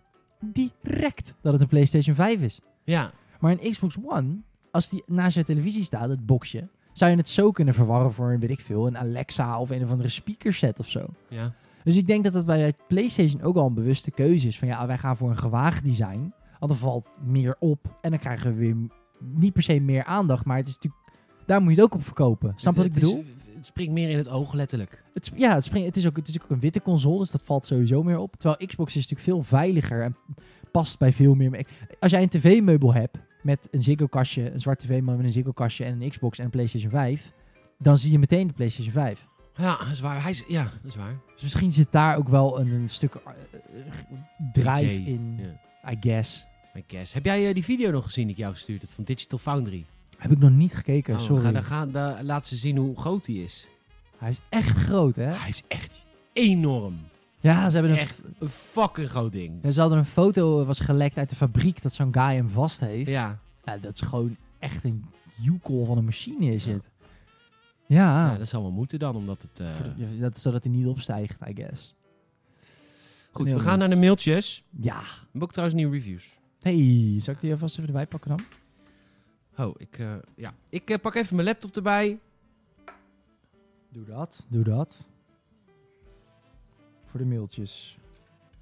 A: direct dat het een PlayStation 5 is.
B: Ja.
A: Maar een Xbox One, als die naast je televisie staat, het boxje, zou je het zo kunnen verwarren voor een, weet ik veel, een Alexa of een of andere speakerset of zo.
B: Ja.
A: Dus ik denk dat dat bij PlayStation ook al een bewuste keuze is. Van ja, wij gaan voor een gewaagd design. Want dan valt meer op en dan krijgen we weer m- niet per se meer aandacht. Maar het is natuurlijk, daar moet je het ook op verkopen. Snap je wat ik
B: Het-
A: bedoel?
B: Het, is- het springt meer in het oog, letterlijk.
A: Het, sp- ja, het, springt- het, is ook, het is ook een witte console, dus dat valt sowieso meer op. Terwijl Xbox is natuurlijk veel veiliger en past bij veel meer. me- Als jij een tv-meubel hebt met een Ziggo-kastje, een zwart tv-meubel met een Ziggo-kastje en een Xbox en een PlayStation 5, dan zie je meteen de PlayStation 5.
B: Ja, dat is waar. Hij is, ja, dat is waar.
A: Dus misschien zit daar ook wel een, een stuk eh, eh, drive
B: Idee.
A: in,
B: Ja,
A: I guess.
B: I guess. Heb jij eh, die video nog gezien die ik jou gestuurd heb van Digital Foundry?
A: Heb ik nog niet gekeken,
B: Oh,
A: sorry.
B: Ga, dan ga, dan laat ze zien hoe groot die is.
A: Hij is echt groot, hè?
B: Hij is echt enorm.
A: Ja, ze hebben een,
B: Echt een fucking groot ding.
A: ja, ze hadden een foto, eh, was gelekt uit de fabriek, dat zo'n guy hem vast heeft.
B: Ja,
A: Ja, dat is gewoon echt een joekel van een machine is
B: Ja.
A: het. Ja,
B: ja, dat zal wel moeten dan, omdat het... eh,
A: Ah. Voor de- ja, dat, zodat hij niet opstijgt, I guess.
B: Goed,
A: heel
B: we gaan
A: goed.
B: naar de mailtjes. We
A: Ja.
B: hebben ook trouwens nieuwe reviews.
A: Hey, zal ik die alvast even erbij pakken dan?
B: Oh, ik, eh, ja. ik eh, pak even mijn laptop erbij.
A: Doe dat. Doe dat. Voor de mailtjes.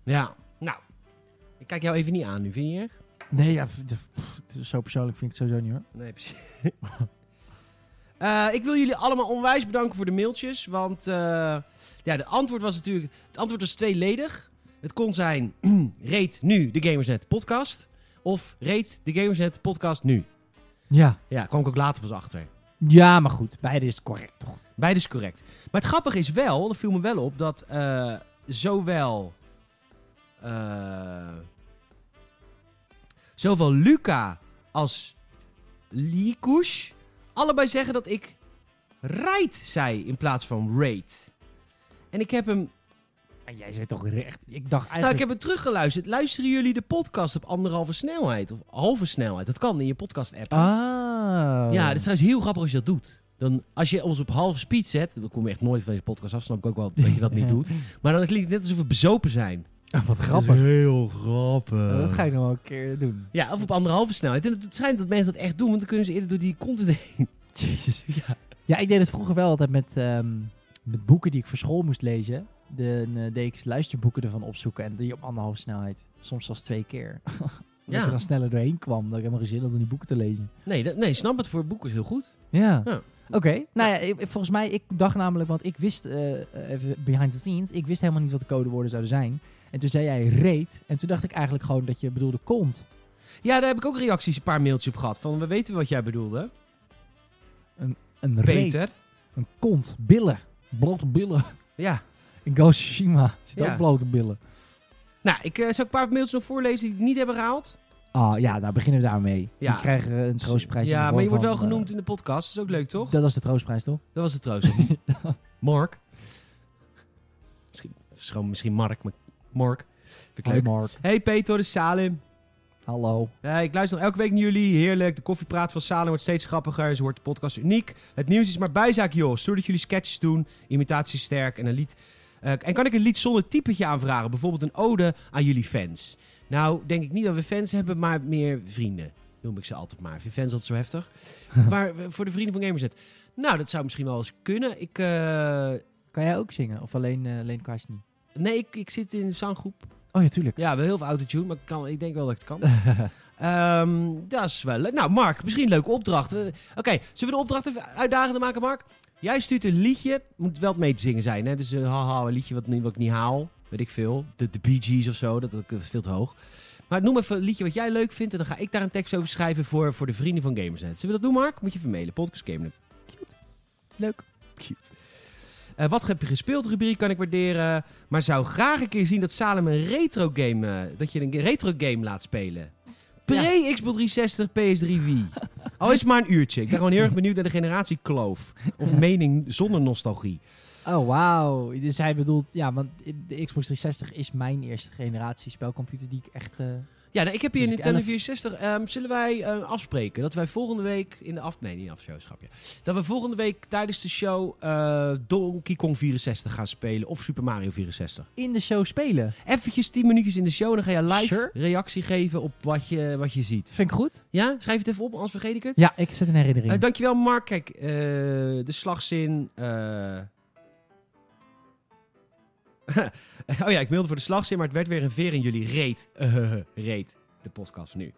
B: Ja, nou. Ik kijk jou even niet aan nu, vind je?
A: Nee, ja, v- de- pff, het is zo persoonlijk vind ik het sowieso niet hoor.
B: Nee, precies. Eh, ik wil jullie allemaal onwijs bedanken voor de mailtjes. Want eh, ja, de antwoord was natuurlijk. Het antwoord was tweeledig. Het kon zijn: reed nu de Gamersnet podcast. Of reed de Gamersnet podcast nu.
A: Ja.
B: Ja, kwam ik ook later pas achter.
A: Ja, maar goed. Beide is correct toch?
B: Beide is correct. Maar het grappige is wel, er viel me wel op, dat eh, zowel. eh, zowel Luca als Likush allebei zeggen dat ik raid zei in plaats van raid. En ik heb hem
A: En jij zei toch recht. Ik dacht
B: nou, ik
A: eigenlijk...
B: heb het teruggeluisterd. Luisteren jullie de podcast op anderhalve snelheid? Of halve snelheid? Dat kan in je podcast-app.
A: Ah.
B: Ja, dat is trouwens heel grappig als je dat doet. Dan, als je ons op halve speed zet, dan kom je echt nooit van deze podcast af, snap ik ook wel dat je dat niet doet. Maar dan klinkt het net alsof we bezopen zijn.
A: Ah, wat grappig.
B: heel grappig.
A: Nou, dat ga ik nog wel een keer doen.
B: Ja, of op anderhalve snelheid. En het schijnt dat mensen dat echt doen, want dan kunnen ze eerder door die content heen.
A: Jezus, ja. Ja, ik deed het vroeger wel altijd met, ehm, met boeken die ik voor school moest lezen. De, eh, deed ik luisterboeken ervan opzoeken en die op anderhalve snelheid. Soms zelfs twee keer. dat
B: Ja.
A: ik er dan sneller doorheen kwam, dat ik helemaal geen zin had om die boeken te lezen.
B: Nee, dat, nee, snap het voor boeken is heel goed.
A: Ja.
B: Ja.
A: Oké, nou ja, ik- volgens mij, ik dacht namelijk, want ik wist, eh, eh, even behind the scenes, ik wist helemaal niet wat de codewoorden zouden zijn. En toen zei jij reet, en toen dacht ik eigenlijk gewoon dat je bedoelde kont.
B: Ja, daar heb ik ook reacties, een paar mailtjes op gehad. Van, we weten wat jij bedoelde.
A: Een reet,
B: Peter.
A: een kont, billen, blote billen.
B: Ja.
A: In Ghost of Tsushima zit
B: Ja.
A: ook blote billen.
B: Nou, ik eh, zal ik een paar mailtjes nog voorlezen die ik niet hebben gehaald.
A: Ah ja, nou beginnen we daarmee.
B: Ja.
A: Die krijgen eh, een troostprijs. in de
B: Ja,
A: vorm
B: maar je wordt
A: van,
B: wel
A: eh,
B: genoemd in de podcast. Dat is ook leuk, toch?
A: Dat was de troostprijs, toch?
B: Dat was het troost. Mark. Misschien, het is gewoon misschien Mark, maar Mark. Vind ik
A: Hoi
B: leuk.
A: Mark.
B: Hey Peter, de Salim.
A: Hallo.
B: Eh, ik luister nog elke week naar jullie. Heerlijk. De koffiepraat van Salim wordt steeds grappiger. Ze wordt de podcast uniek. Het nieuws is maar bijzaak, joh. Stoer dat jullie sketches doen. Imitatie sterk en een lied. eh, en kan ik een lied zonder typetje aanvragen? Bijvoorbeeld een ode aan jullie fans. Nou, denk ik niet dat we fans hebben, maar meer vrienden. Noem ik ze altijd maar. Vind je fans altijd zo heftig? maar eh, voor de vrienden van Gamerzet. Nou, dat zou misschien wel eens kunnen. Ik, eh,
A: Kan jij ook zingen? Of alleen, eh alleen Kwasi niet?
B: Nee, ik, ik zit in een zanggroep.
A: Oh ja, tuurlijk.
B: Ja, wel heel veel autotune, maar ik, kan, ik denk wel dat ik het kan. Ehm, dat is wel leuk. Nou, Mark, misschien een leuke opdracht. We- Oké, zullen we de opdracht even uitdagender maken, Mark? Jij stuurt een liedje. Moet wel mee te zingen zijn, hè? Dus een haha, een liedje wat, niet- wat ik niet haal. Weet ik veel. De, de Bee Gees of zo, dat, dat is veel te hoog. Maar noem even een liedje wat jij leuk vindt. En dan ga ik daar een tekst over schrijven voor, voor de vrienden van Gamersnet. Zullen we dat doen, Mark? Moet je even mailen. Podcastgamer.
A: Leuk.
B: Cute. Eh, wat heb je gespeeld? Rubriek kan ik waarderen. Maar zou graag een keer zien dat Salem een retro game. eh, dat je een retro game laat spelen. Pre-Xbox 360, PS3 Wii. Al is het maar een uurtje. Ik ben gewoon heel erg benieuwd naar de generatie kloof. Of mening zonder nostalgie.
A: Oh, wauw. Dus hij bedoelt, ja, want de Xbox 360 is mijn eerste generatie spelcomputer die ik echt... eh,
B: Ja, nou, ik heb hier
A: Dus
B: een
A: ik
B: Nintendo
A: elf.
B: 64. Ehm, zullen wij eh, afspreken dat wij volgende week in de af... Nee, niet afshow, schapje. Dat we volgende week tijdens de show eh, Donkey Kong 64 gaan spelen of Super Mario 64.
A: in de show spelen.
B: Eventjes 10 minuutjes in de show en dan ga je live
A: Sure.
B: reactie geven op wat je, wat je ziet.
A: Vind ik goed?
B: Ja? Schrijf het even op, anders vergeet ik het.
A: Ja, ik zet een herinnering.
B: Eh, dankjewel, Mark. Kijk, eh, de slagzin. eh. oh ja, ik mailde voor de slagzin, maar het werd weer een veer in jullie reet. Eh, reet, de podcast nu.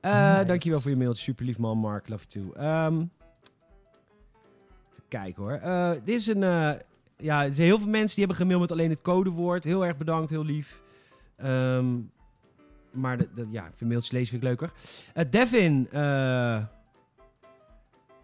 B: Eh
A: Nice.
B: Dankjewel voor je mail. Super lief man, Mark. Love you too. Ehm, even kijken hoor. Eh, dit is een. eh, ja, er zijn heel veel mensen die hebben gemaild met alleen het codewoord. Heel erg bedankt, heel lief. Ehm, maar de, de- ja, veel mailtjes lezen vind ik leuker. Eh, Devin, eh,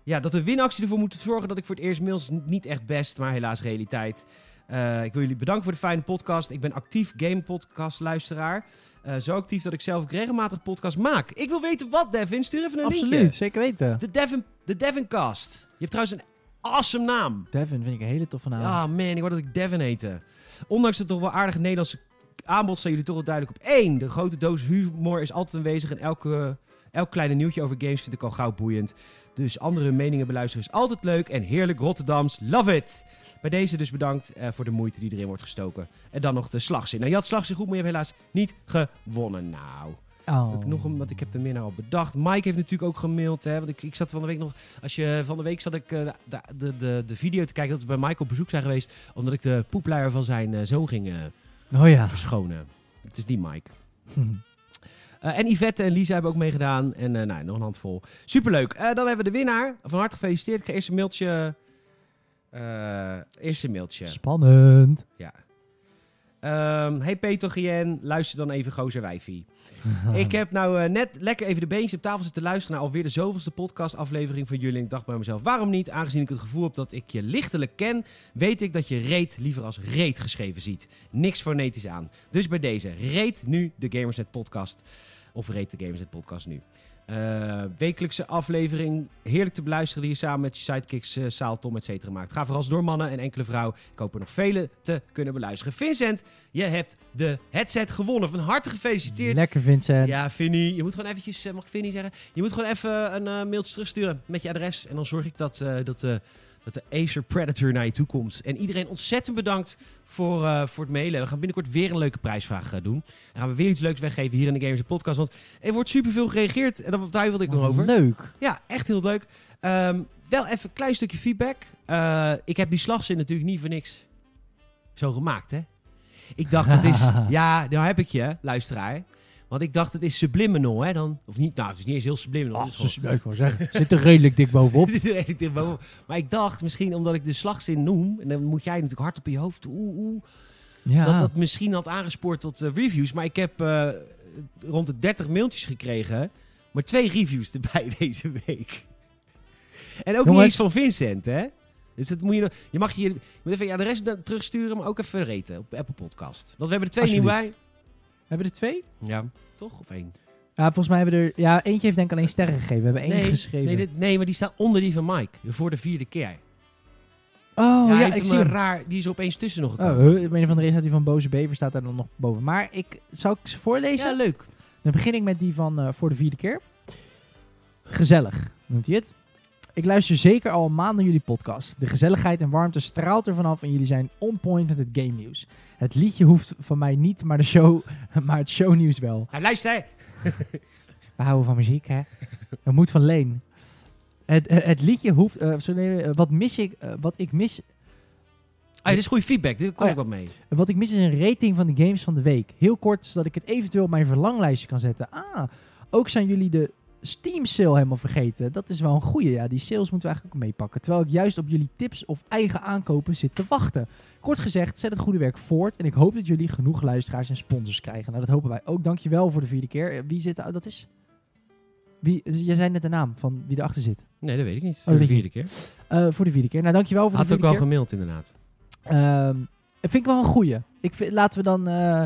B: ja, dat de winactie ervoor moet zorgen dat ik voor het eerst mails n- niet echt best, maar helaas realiteit. Eh, ik wil jullie bedanken voor de fijne podcast. Ik ben actief game podcast luisteraar. Eh, zo actief dat ik zelf ook regelmatig podcast maak. Ik wil weten wat, Devin. Stuur even een Dus- linkje.
A: Absoluut, zeker weten.
B: De Devin, de Devincast. Je hebt trouwens een awesome naam.
A: Devin vind ik een hele toffe naam.
B: Ah man, ik wou dat ik Devin heette. Ondanks het toch wel aardige Nederlandse aanbod zijn jullie toch wel duidelijk op één. De grote doos humor is altijd aanwezig en elke, elk kleine nieuwtje over games vind ik al gauw boeiend. Dus andere meningen beluisteren is altijd leuk en heerlijk Rotterdams. Love it! Bij deze dus bedankt eh, voor de moeite die erin wordt gestoken. En dan nog de slagzin. Nou, je had slagzin goed, maar je hebt helaas niet gewonnen. Nou,
A: Oh.
B: heb ik nog een, want ik heb de minnaar al bedacht. Mike heeft natuurlijk ook gemaild. Hè, want ik, ik zat van de week nog. Als je van de week zat ik eh, de, de, de, de video te kijken dat we bij Mike op bezoek zijn geweest. Omdat ik de poepluier van zijn eh, zoon ging eh,
A: Oh ja.
B: verschonen. Het is die Mike. Eh, en Yvette en Lisa hebben ook meegedaan. En eh, nou, nog een handvol. Superleuk. Eh, dan hebben we de winnaar. Van harte gefeliciteerd. Ik ga eerst een mailtje. eh eerst een mailtje.
A: Spannend.
B: Ja. Ehm, hey Peter Gien, luister dan even Gozer Wijfie. Ik heb nou eh, net lekker even de beentjes op tafel zitten luisteren naar alweer de zoveelste podcastaflevering van jullie. En ik dacht bij mezelf, waarom niet? Aangezien ik het gevoel heb dat ik je lichtelijk ken, weet ik dat je reet liever als reet geschreven ziet. Niks fonetisch aan. Dus bij deze, reet nu de Gamersnet podcast. Of reet de Gamersnet podcast nu. Eh, wekelijkse aflevering, heerlijk te beluisteren die je samen met je sidekicks, eh, Saal, Tom, et cetera maakt. Ga vooral door mannen en enkele vrouw. Ik hoop er nog vele te kunnen beluisteren. Vincent, je hebt de headset gewonnen. Van harte gefeliciteerd.
A: Lekker Vincent.
B: Ja, Vinnie, je moet gewoon eventjes, eh, mag ik Vinnie zeggen? Je moet gewoon even een eh, mailtje terugsturen met je adres. En dan zorg ik dat, eh, dat, eh, dat de Acer Predator naar je toe komt. En iedereen ontzettend bedankt voor, eh, voor het mailen. We gaan binnenkort weer een leuke prijsvraag eh, doen. En gaan we weer iets leuks weggeven hier in de Gamers Podcast. Want er wordt superveel gereageerd. En daar- daar wilde ik
A: Wat
B: nog over.
A: Leuk.
B: Ja, echt heel leuk. Ehm, wel even een klein stukje feedback. Eh, ik heb die slagzin natuurlijk niet voor niks zo gemaakt, hè? Ik dacht, het is... ja, daar heb ik je, luisteraar. Want ik dacht, het is subliminal, hè? Dan, of niet, nou, het is niet eens heel subliminal.
A: Ah,
B: het is gewoon-
A: ze- leuk hoor, zeg. Zit er redelijk dik bovenop.
B: Zit er redelijk dichtboven. Maar ik dacht, misschien omdat ik de slagzin noem... en dan moet jij natuurlijk hard op je hoofd... Oeh, oeh,
A: Ja.
B: dat dat misschien had aangespoord tot eh, reviews. Maar ik heb eh, rond de 30 mailtjes gekregen. Maar twee reviews erbij deze week. En ook niet
A: Jongens.
B: eens van Vincent, hè? Dus dat moet je, nog- je mag je, je moet even je adres da- terugsturen, maar ook even reten op Apple Podcast. Want we hebben er twee nieuw bij.
A: Alsjeblieft. Hebben we er twee?
B: Ja. Toch? Of één?
A: Ja, volgens mij hebben we er... Ja, eentje heeft denk ik alleen sterren gegeven. We hebben één
B: nee,
A: geschreven.
B: Nee, dit- nee, maar die staat onder die van Mike. Voor de vierde keer.
A: Oh
B: hij
A: ja,
B: heeft
A: ik
B: hem
A: zie
B: een
A: hem.
B: raar... Die is er opeens tussen nog
A: Oh,
B: gekomen.
A: huh, op een of andere reden staat die van Boze Bever staat daar dan nog boven. Maar ik, zou ik ze voorlezen?
B: ja, leuk.
A: Dan begin ik met die van eh, voor de vierde keer. Gezellig, noemt hij het. Ik luister zeker al een maand naar jullie podcast. De gezelligheid en warmte straalt er vanaf en jullie zijn on point met het game nieuws. Het liedje hoeft van mij niet, maar, de show, maar het shownieuws wel.
B: Hij luistert, hè?
A: We houden van muziek, hè? Dat moet van Leen. Het, eh, het liedje hoeft... eh, sorry, nee, eh, wat mis ik... eh, wat ik mis...
B: Ah, dit is goede feedback. Dit kom
A: Oh,
B: ik wat mee.
A: Wat ik mis is een rating van de games van de week. Heel kort, zodat ik het eventueel op mijn verlanglijstje kan zetten. Ah, ook zijn jullie de Steam sale helemaal vergeten. Dat is wel een goeie. Ja, die sales moeten we eigenlijk ook meepakken. Terwijl ik juist op jullie tips of eigen aankopen zit te wachten. Kort gezegd, zet het goede werk voort. En ik hoop dat jullie genoeg luisteraars en sponsors krijgen. Nou, dat hopen wij ook. Dankjewel voor de vierde keer. Eh, Wie zit er? oh, Dat is... Wie, jij zei net de naam van wie erachter zit.
B: Nee, dat weet ik niet.
A: Oh, weet
B: de
A: ik
B: vierde keer.
A: Eh, voor de vierde keer. Nou, dankjewel voor
B: Had
A: de
B: ook
A: vierde
B: wel
A: keer.
B: gemaild, inderdaad.
A: Ehm, dat vind ik wel een goeie. Ik vind, laten we dan... eh,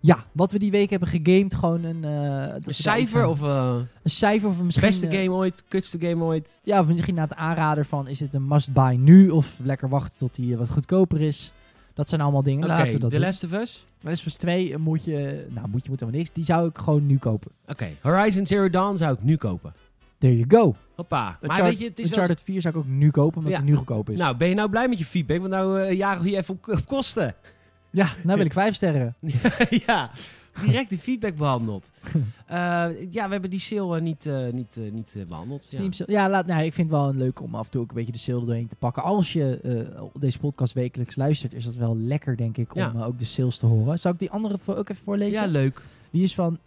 A: Ja, wat we die week hebben gegamed, gewoon een... eh, dat we daar
B: Een
A: iets
B: cijfer
A: aan-
B: of eh,
A: Een cijfer of misschien...
B: beste
A: eh,
B: game ooit, kutste game ooit.
A: Ja, of misschien na het aanraden van is het een must-buy nu of lekker wachten tot die eh, wat goedkoper is. Dat zijn allemaal dingen.
B: Oké,
A: Laten we dat
B: The
A: doen.
B: Last of Us.
A: Les Vers 2 moet je, nou moet je moet helemaal niks. Die zou ik gewoon nu kopen.
B: Oké, Horizon Zero Dawn zou ik nu kopen.
A: There you go.
B: Hoppa. Maar
A: Uncharted-
B: weet je, het is wel...
A: Uncharted 4 zou ik ook nu kopen, omdat
B: Ja.
A: die nu goedkoop is.
B: Nou, ben je nou blij met je feedback? Want nou eh jagen we je even op, op kosten.
A: Ja, nou wil ik vijf sterren.
B: ja, direct die feedback behandeld. Eh, ja, we hebben die sale eh, niet, eh, niet, eh, niet eh, behandeld. Ja.
A: Steam sale- Ja, laat, nou, ik vind het wel een leuk om af en toe ook een beetje de sale er doorheen te pakken. Als je eh, deze podcast wekelijks luistert, is dat wel lekker, denk ik, om
B: Ja.
A: eh, ook de sales te horen. Zou ik die andere voor, ook even voorlezen?
B: Ja, leuk.
A: Die is van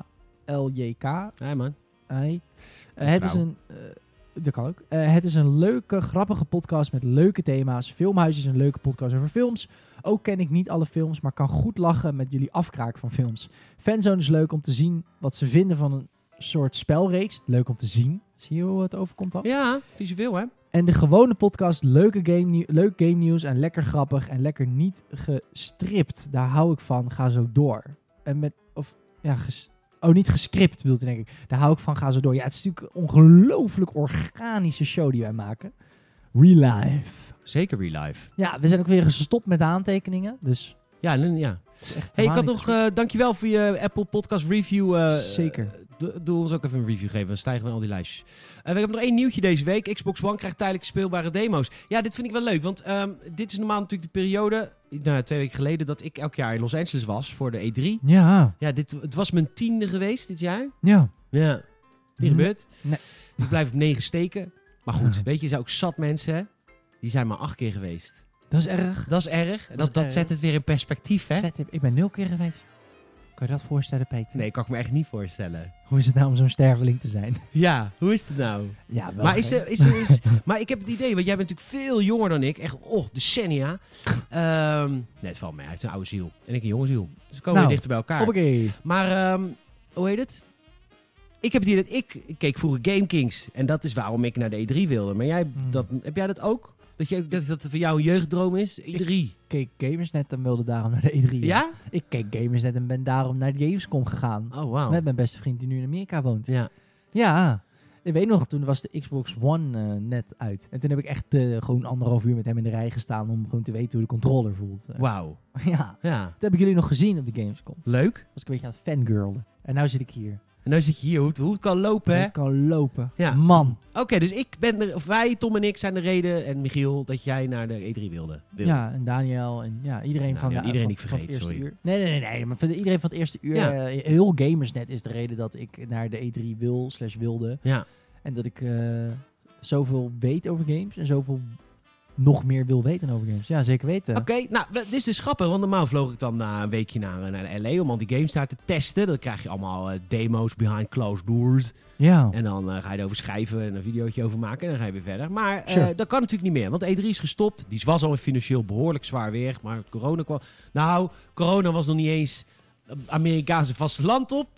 A: B,M,LJK.
B: Ja, man.
A: Hi. Eh, het is
B: vrouw.
A: een. eh, dat kan ook. Eh, het is een leuke, grappige podcast met leuke thema's. Filmhuis is een leuke podcast over films. Ook ken ik niet alle films, maar kan goed lachen met jullie afkraak van films. Fanzone is leuk om te zien wat ze vinden van een soort spelreeks. Leuk om te zien. Zie je hoe het overkomt dan?
B: Ja, visueel hè?
A: En de gewone podcast, leuke game, nieuw- leuk game nieuws en lekker grappig en lekker niet gestript. Daar hou ik van, ga zo door. En met, of, ja, ges- oh niet gescript bedoelt hij denk ik. Daar hou ik van, ga zo door. Ja, het is natuurlijk een ongelooflijk organische show die wij maken. Real life.
B: Zeker real life.
A: Ja, we zijn ook weer gestopt met de aantekeningen, dus
B: Ja, nee, ja.
A: het is echt
B: Hey, ik
A: helemaal
B: had
A: niks
B: nog, eh, dankjewel voor je Apple Podcast Review. eh,
A: Zeker.
B: Doe, doe ons ook even een review geven, dan stijgen we in al die lijstjes. Eh we hebben nog één nieuwtje deze week. Xbox One krijgt tijdelijk speelbare demo's. Ja, dit vind ik wel leuk, want ehm, dit is normaal natuurlijk de periode, nou, twee weken geleden, dat ik elk jaar in Los Angeles was voor de E3.
A: gesproken. Ja,
B: Ja, dit, het was mijn tiende geweest dit jaar.
A: ja. Mhm.
B: Ja. Niet gebeurd.
A: Nee.
B: Ik blijf op negen steken. Maar goed, weet je, er zijn ook zat mensen, hè? die zijn maar acht keer geweest.
A: Dat is erg.
B: Dat is erg. Dat,
A: is
B: dat,
A: erg.
B: zet het weer in perspectief, hè?
A: Zet, ik ben nul keer geweest. Kan je dat voorstellen, Peter?
B: Nee, kan ik me echt niet voorstellen.
A: Hoe is het nou om zo'n sterveling te zijn?
B: Ja, hoe is het nou?
A: Ja, wel
B: Maar, is
A: gek.
B: er, is er, is, maar ik heb het idee, want jij bent natuurlijk veel jonger dan ik. Echt, oh, decennia. Ehm nee, het valt mij. Hij heeft een oude ziel. En ik een jonge ziel. Dus we komen
A: Nou,
B: weer dichter bij elkaar.
A: Hoppakee.
B: Maar, ehm, hoe heet het? Ik heb het idee dat ik, ik keek vroeger Game Kings. En dat is waarom ik naar de E3 wilde. Maar jij,
A: Hmm.
B: dat, heb jij dat ook? Dat, je, dat, dat het voor jou een jeugddroom is? E3.
A: keek Gamersnet en wilde daarom naar de E3. gaan.
B: ja?
A: Ik keek Gamersnet en ben daarom naar de Gamescom gegaan.
B: Oh, wauw.
A: Met mijn beste vriend die nu in Amerika woont.
B: Ja.
A: Ja. Ik weet nog, toen was de Xbox One eh, net uit. En toen heb ik echt eh, gewoon anderhalf uur met hem in de rij gestaan om gewoon te weten hoe de controller voelt. Eh,
B: Wauw.
A: Ja.
B: Ja.
A: Dat heb ik jullie nog gezien op de Gamescom.
B: Leuk.
A: Was ik een beetje aan het fangirlen. En nou zit ik hier.
B: En nu zit je hier, hoe het, hoe het kan lopen,
A: Dat
B: hè?
A: Het kan lopen.
B: Ja.
A: Man.
B: Oké, dus ik ben er, of wij, Tom en ik, zijn de reden, en Michiel, dat jij naar de E3 wilde. wilde.
A: Ja, en Daniel en ja, iedereen
B: Nou,
A: van
B: ja,
A: de
B: iedereen
A: van,
B: die ik
A: van het
B: vergeet,
A: eerste
B: sorry.
A: uur. Nee, nee, nee, nee, maar van de- iedereen van het eerste uur.
B: Ja.
A: eh, heel gamersnet is de reden dat ik naar de E3 wil slash wilde.
B: Ja.
A: En dat ik eh, zoveel weet over games en zoveel nog meer wil weten over games. Ja, zeker weten.
B: Oké, nou, we- dit is dus grappig, want normaal vloog ik dan na een weekje naar, eh, naar LA om al die games daar te testen. Dan krijg je allemaal eh, demo's behind closed doors.
A: Ja.
B: En dan eh, ga je erover schrijven en een videootje over maken en dan ga je weer verder. Maar eh,
A: Sure.
B: dat kan natuurlijk niet meer, want E3 is gestopt. Die was al financieel behoorlijk zwaar weer, maar corona kwam... Nou, corona was nog niet eens eh, Amerikaanse vasteland op.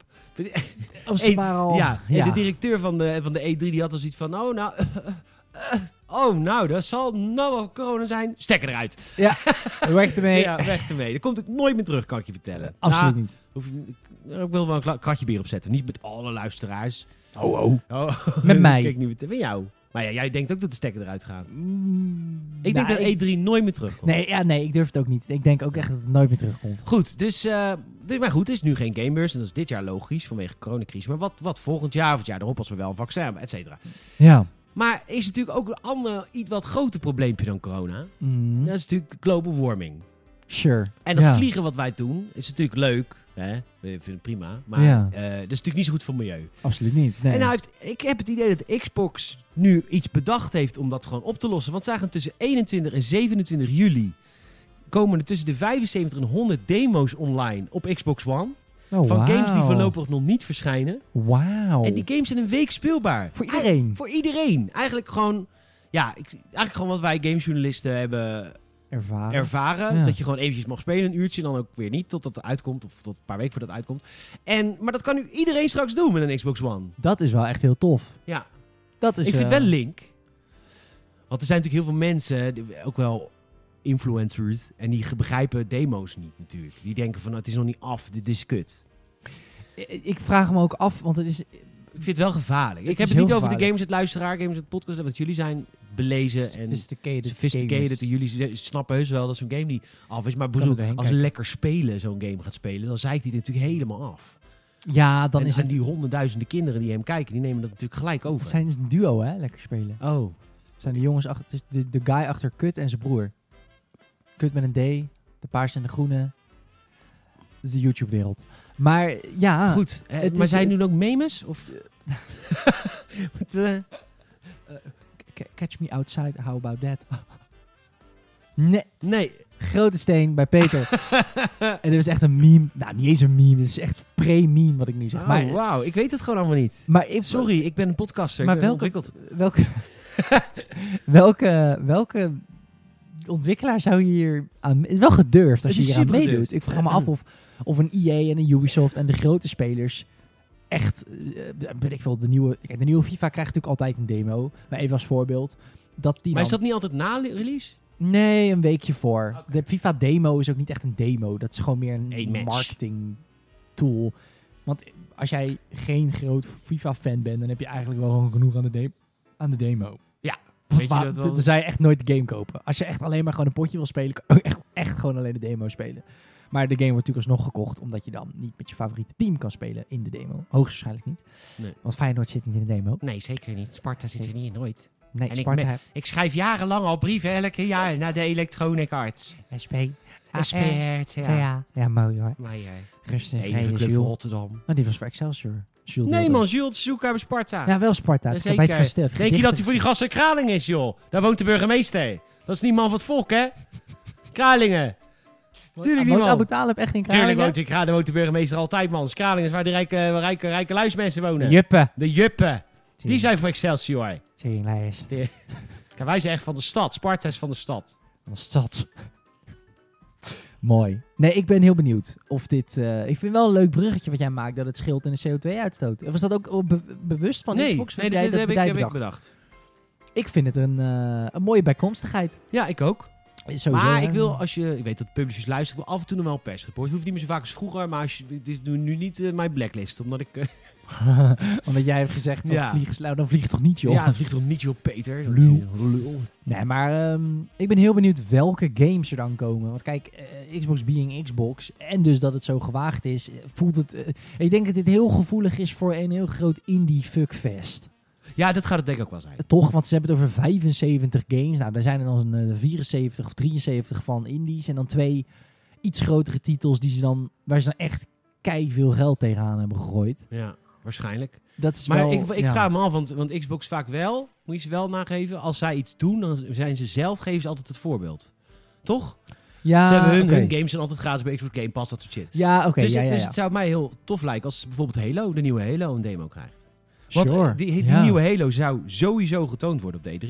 A: Of ze
B: Eén-
A: waren al...
B: Ja, en de directeur van de, van de E3 die had al zoiets van... Oh, nou... eh, oh, nou, dat zal nou wel corona zijn. Stekker eruit.
A: Weg ermee.
B: Ja, weg ermee. Dat komt ook nooit meer terug, kan ik je vertellen.
A: Eh, Absoluut
B: Nou,
A: niet.
B: hoef je- ik, ik wil wel een kla- kratje bier opzetten. Niet met alle luisteraars.
A: Oh, oh.
B: Oh,
A: Met mij.
B: Kijk, niet met, met jou. Maar ja, jij denkt ook dat de stekker eruit gaat.
A: Mm,
B: Ik
A: nou,
B: denk dat E E3 nooit meer terugkomt.
A: Nee, ja, nee, ik durf het ook niet. Ik denk ook echt dat het nooit meer terugkomt.
B: Goed, dus, eh, dus... Maar goed, er is nu geen gamebeurs. En dat is dit jaar logisch vanwege de coronacrisis. Maar wat, wat volgend jaar of het jaar erop als we wel een vaccin hebben, et cetera.
A: Ja.
B: Maar is natuurlijk ook een ander, iets wat groter probleempje dan corona.
A: Mm,
B: Dat is natuurlijk global warming.
A: Sure.
B: En dat
A: Ja.
B: vliegen wat wij doen is natuurlijk leuk. Hè? We vinden het prima. Maar
A: Ja.
B: eh, dat is natuurlijk niet zo goed voor het milieu.
A: Absoluut niet. Nee.
B: En nou heeft, ik heb het idee dat Xbox nu iets bedacht heeft om dat gewoon op te lossen. Want zij gaan tussen 21 en 27 juli komen er tussen de 75 en 100 demo's online op Xbox One.
A: Oh,
B: Van games die
A: wauw.
B: voorlopig nog niet verschijnen.
A: Wauw.
B: En die games zijn een week speelbaar.
A: Voor iedereen.
B: Voor iedereen. Eigenlijk gewoon, ja, ik, eigenlijk gewoon wat wij gamejournalisten hebben
A: Ervaren.
B: ervaren.
A: Ah. Ja.
B: Dat je gewoon eventjes mag spelen, een uurtje, en dan ook weer niet, totdat het uitkomt. Of tot een paar weken voordat het uitkomt. En, maar dat kan nu iedereen straks doen met een Xbox One.
A: dat is wel echt heel tof.
B: Ja,
A: Dat is,
B: ik vind
A: eh,
B: het wel link. Want er zijn natuurlijk heel veel mensen, die- ook wel influencers. En die ge- begrijpen demo's niet natuurlijk. Die denken van, nou, het is nog niet af, dit is kut.
A: I- Ik vraag me ook af, want het is...
B: Ik vind het wel gevaarlijk.
A: Het
B: ik heb
A: is
B: het niet
A: heel
B: over de
A: gevaarlijk.
B: Games het Luisteraar, Games het Podcast, want jullie zijn belezen en
A: sophisticated,
B: sophisticated.
A: gamers.
B: Jullie z- snappen heus wel dat zo'n game niet af is. Maar
A: er
B: bedoel,
A: doorheen
B: als
A: kijken.
B: lekker spelen zo'n game gaat spelen, dan zeikt hij het natuurlijk helemaal af.
A: Ja, dan
B: Dan en,
A: is
B: en
A: het...
B: die honderdduizenden kinderen die hem kijken, die nemen dat natuurlijk gelijk over.
A: Het zijn een duo, hè? Lekker spelen.
B: Oh,
A: Het zijn de jongens achter... Het is de, de guy achter Kut en zijn broer. Kut met een D. De paars en de groene. Dat is de YouTube-wereld. Maar ja...
B: goed. Eh,
A: Ah, het
B: maar
A: is-
B: zijn nu ook memes? Of... Moeten we-
A: Ca- Catch me outside, how about that? nee,
B: nee.
A: grote steen bij Peter. en dit is echt een meme. Nou, niet eens een meme. Dit is echt pre-meme wat ik nu zeg.
B: Oh,
A: maar,
B: wauw. Ik weet het gewoon allemaal niet.
A: maar ik,
B: Sorry, ik ben een podcaster.
A: Maar
B: ik ben
A: welke-
B: ontwikkeld.
A: Welke, welke, welke ontwikkelaar zou hier aan... Het is wel gedurfd
B: Het
A: als je
B: is
A: hier aan
B: super
A: meedoet.
B: gedurfd.
A: Ik vraag me af of, of een EA en een Ubisoft en de grote spelers echt... eh, weet ik veel, de nieuwe... Kijk, de nieuwe FIFA krijgt natuurlijk altijd een demo. Maar even als voorbeeld. Dat die
B: Maar is
A: dan-
B: dat niet altijd na le- release?
A: Nee, een weekje voor.
B: Oké.
A: De FIFA demo is ook niet echt een demo. Dat is gewoon meer
B: Eén
A: een
B: match.
A: marketing tool. Want als jij geen groot FIFA fan bent, dan heb je eigenlijk wel gewoon genoeg aan de, de- aan de demo.
B: Ja,
A: Want
B: weet je
A: waar-
B: dat wel?
A: Dan zou je echt nooit de game kopen. Als je echt alleen maar gewoon een potje wil spelen, kan je echt, echt gewoon alleen de demo spelen. Maar de game wordt natuurlijk alsnog gekocht, omdat je dan niet met je favoriete team kan spelen in de demo. Hoogstwaarschijnlijk niet.
B: Nee.
A: Want Feyenoord zit niet in de demo.
B: Nee, zeker niet. Sparta zit er niet in, nooit.
A: Nee,
B: En ik
A: Sparta,
B: Ik schrijf jarenlang al brieven elke jaar naar de Electronic Arts.
A: SP, AR,
B: Expert, ja.
A: ja. ja, mooi hoor.
B: Maar eh, ja,
A: Rust en
B: enige
A: vrede,
B: club van
A: eh, Jules.
B: Rotterdam.
A: Maar Oh, die was voor Excelsior. Jules
B: Nee
A: Dilder.
B: man, Jules Zoeka bij Sparta.
A: Ja, wel Sparta.
B: Ja,
A: Het staat bij het
B: zeker.
A: kasteel.
B: Denk je dat hij voor die gasten Kralingen is, joh? Daar woont de burgemeester. Dat is niet man van het volk, hè? Kralingen. Tuurlijk niet,
A: Woont
B: man.
A: Abu Talib echt in Kralingen?
B: Tuurlijk woont, in Kralingen, woont de burgemeester altijd, man. Dus Kralingen is waar de rijke, rijke, rijke luismensen wonen.
A: Juppen.
B: De juppen. Die zijn voor Excelsior.
A: Teringleiders.
B: Kijk, wij zijn echt van de stad. Sparta is van de stad.
A: Van de stad. Mooi. Nee, ik ben heel benieuwd of dit... eh, ik vind wel een leuk bruggetje wat jij maakt dat het scheelt in de CO2-uitstoot. Was dat ook oh, be- bewust van
B: nee,
A: Xbox? Of
B: nee
A: jij
B: dit, dit heb, ik,
A: jij
B: heb ik
A: bedacht?
B: bedacht.
A: Ik vind het een, eh, een mooie bijkomstigheid.
B: Ja, ik ook.
A: Sowieso,
B: maar
A: hè.
B: ik wil, als je, ik weet dat publishers luisteren, ik wil af en toe nog wel een persrapport. Het hoeft niet meer zo vaak als vroeger, maar als je, dit doe nu niet eh, mijn blacklist, omdat ik... eh,
A: Omdat jij hebt gezegd, dat
B: Ja.
A: vliegen, nou, dan vlieg toch niet, joh.
B: ja, het vliegt toch niet, joh, Peter?
A: Lul.
B: Lul.
A: Nee, maar ehm, ik ben heel benieuwd welke games er dan komen. Want kijk, eh, Xbox being Xbox en dus dat het zo gewaagd is, eh, voelt het... eh, ik denk dat dit heel gevoelig is voor een heel groot indie fuckfest.
B: Ja, dat gaat het denk ik ook wel zijn.
A: Eh, Toch, want ze hebben het over 75 games. Nou, daar zijn er dan eh, 74 of 73 van indies. En dan twee iets grotere titels die ze dan, waar ze dan echt kei veel geld tegenaan hebben gegooid.
B: Ja, waarschijnlijk.
A: Dat is
B: Maar
A: wel...
B: ik, ik
A: ja.
B: vraag me af, want, want Xbox vaak wel, moet je ze wel nageven, als zij iets doen, dan zijn ze zelf, geven ze altijd het voorbeeld. Toch?
A: Ja,
B: ze hebben hun,
A: Ah, oké.
B: hun games zijn altijd gratis bij Xbox Game Pass, dat soort shit.
A: Ja, oké.
B: dus
A: ja,
B: het-
A: ja,
B: dus
A: ja.
B: het zou mij heel tof lijken als bijvoorbeeld Halo, de nieuwe Halo, een demo krijgt. Want eh,
A: Sure.
B: die, die
A: Ja.
B: nieuwe Halo zou sowieso getoond worden op D3.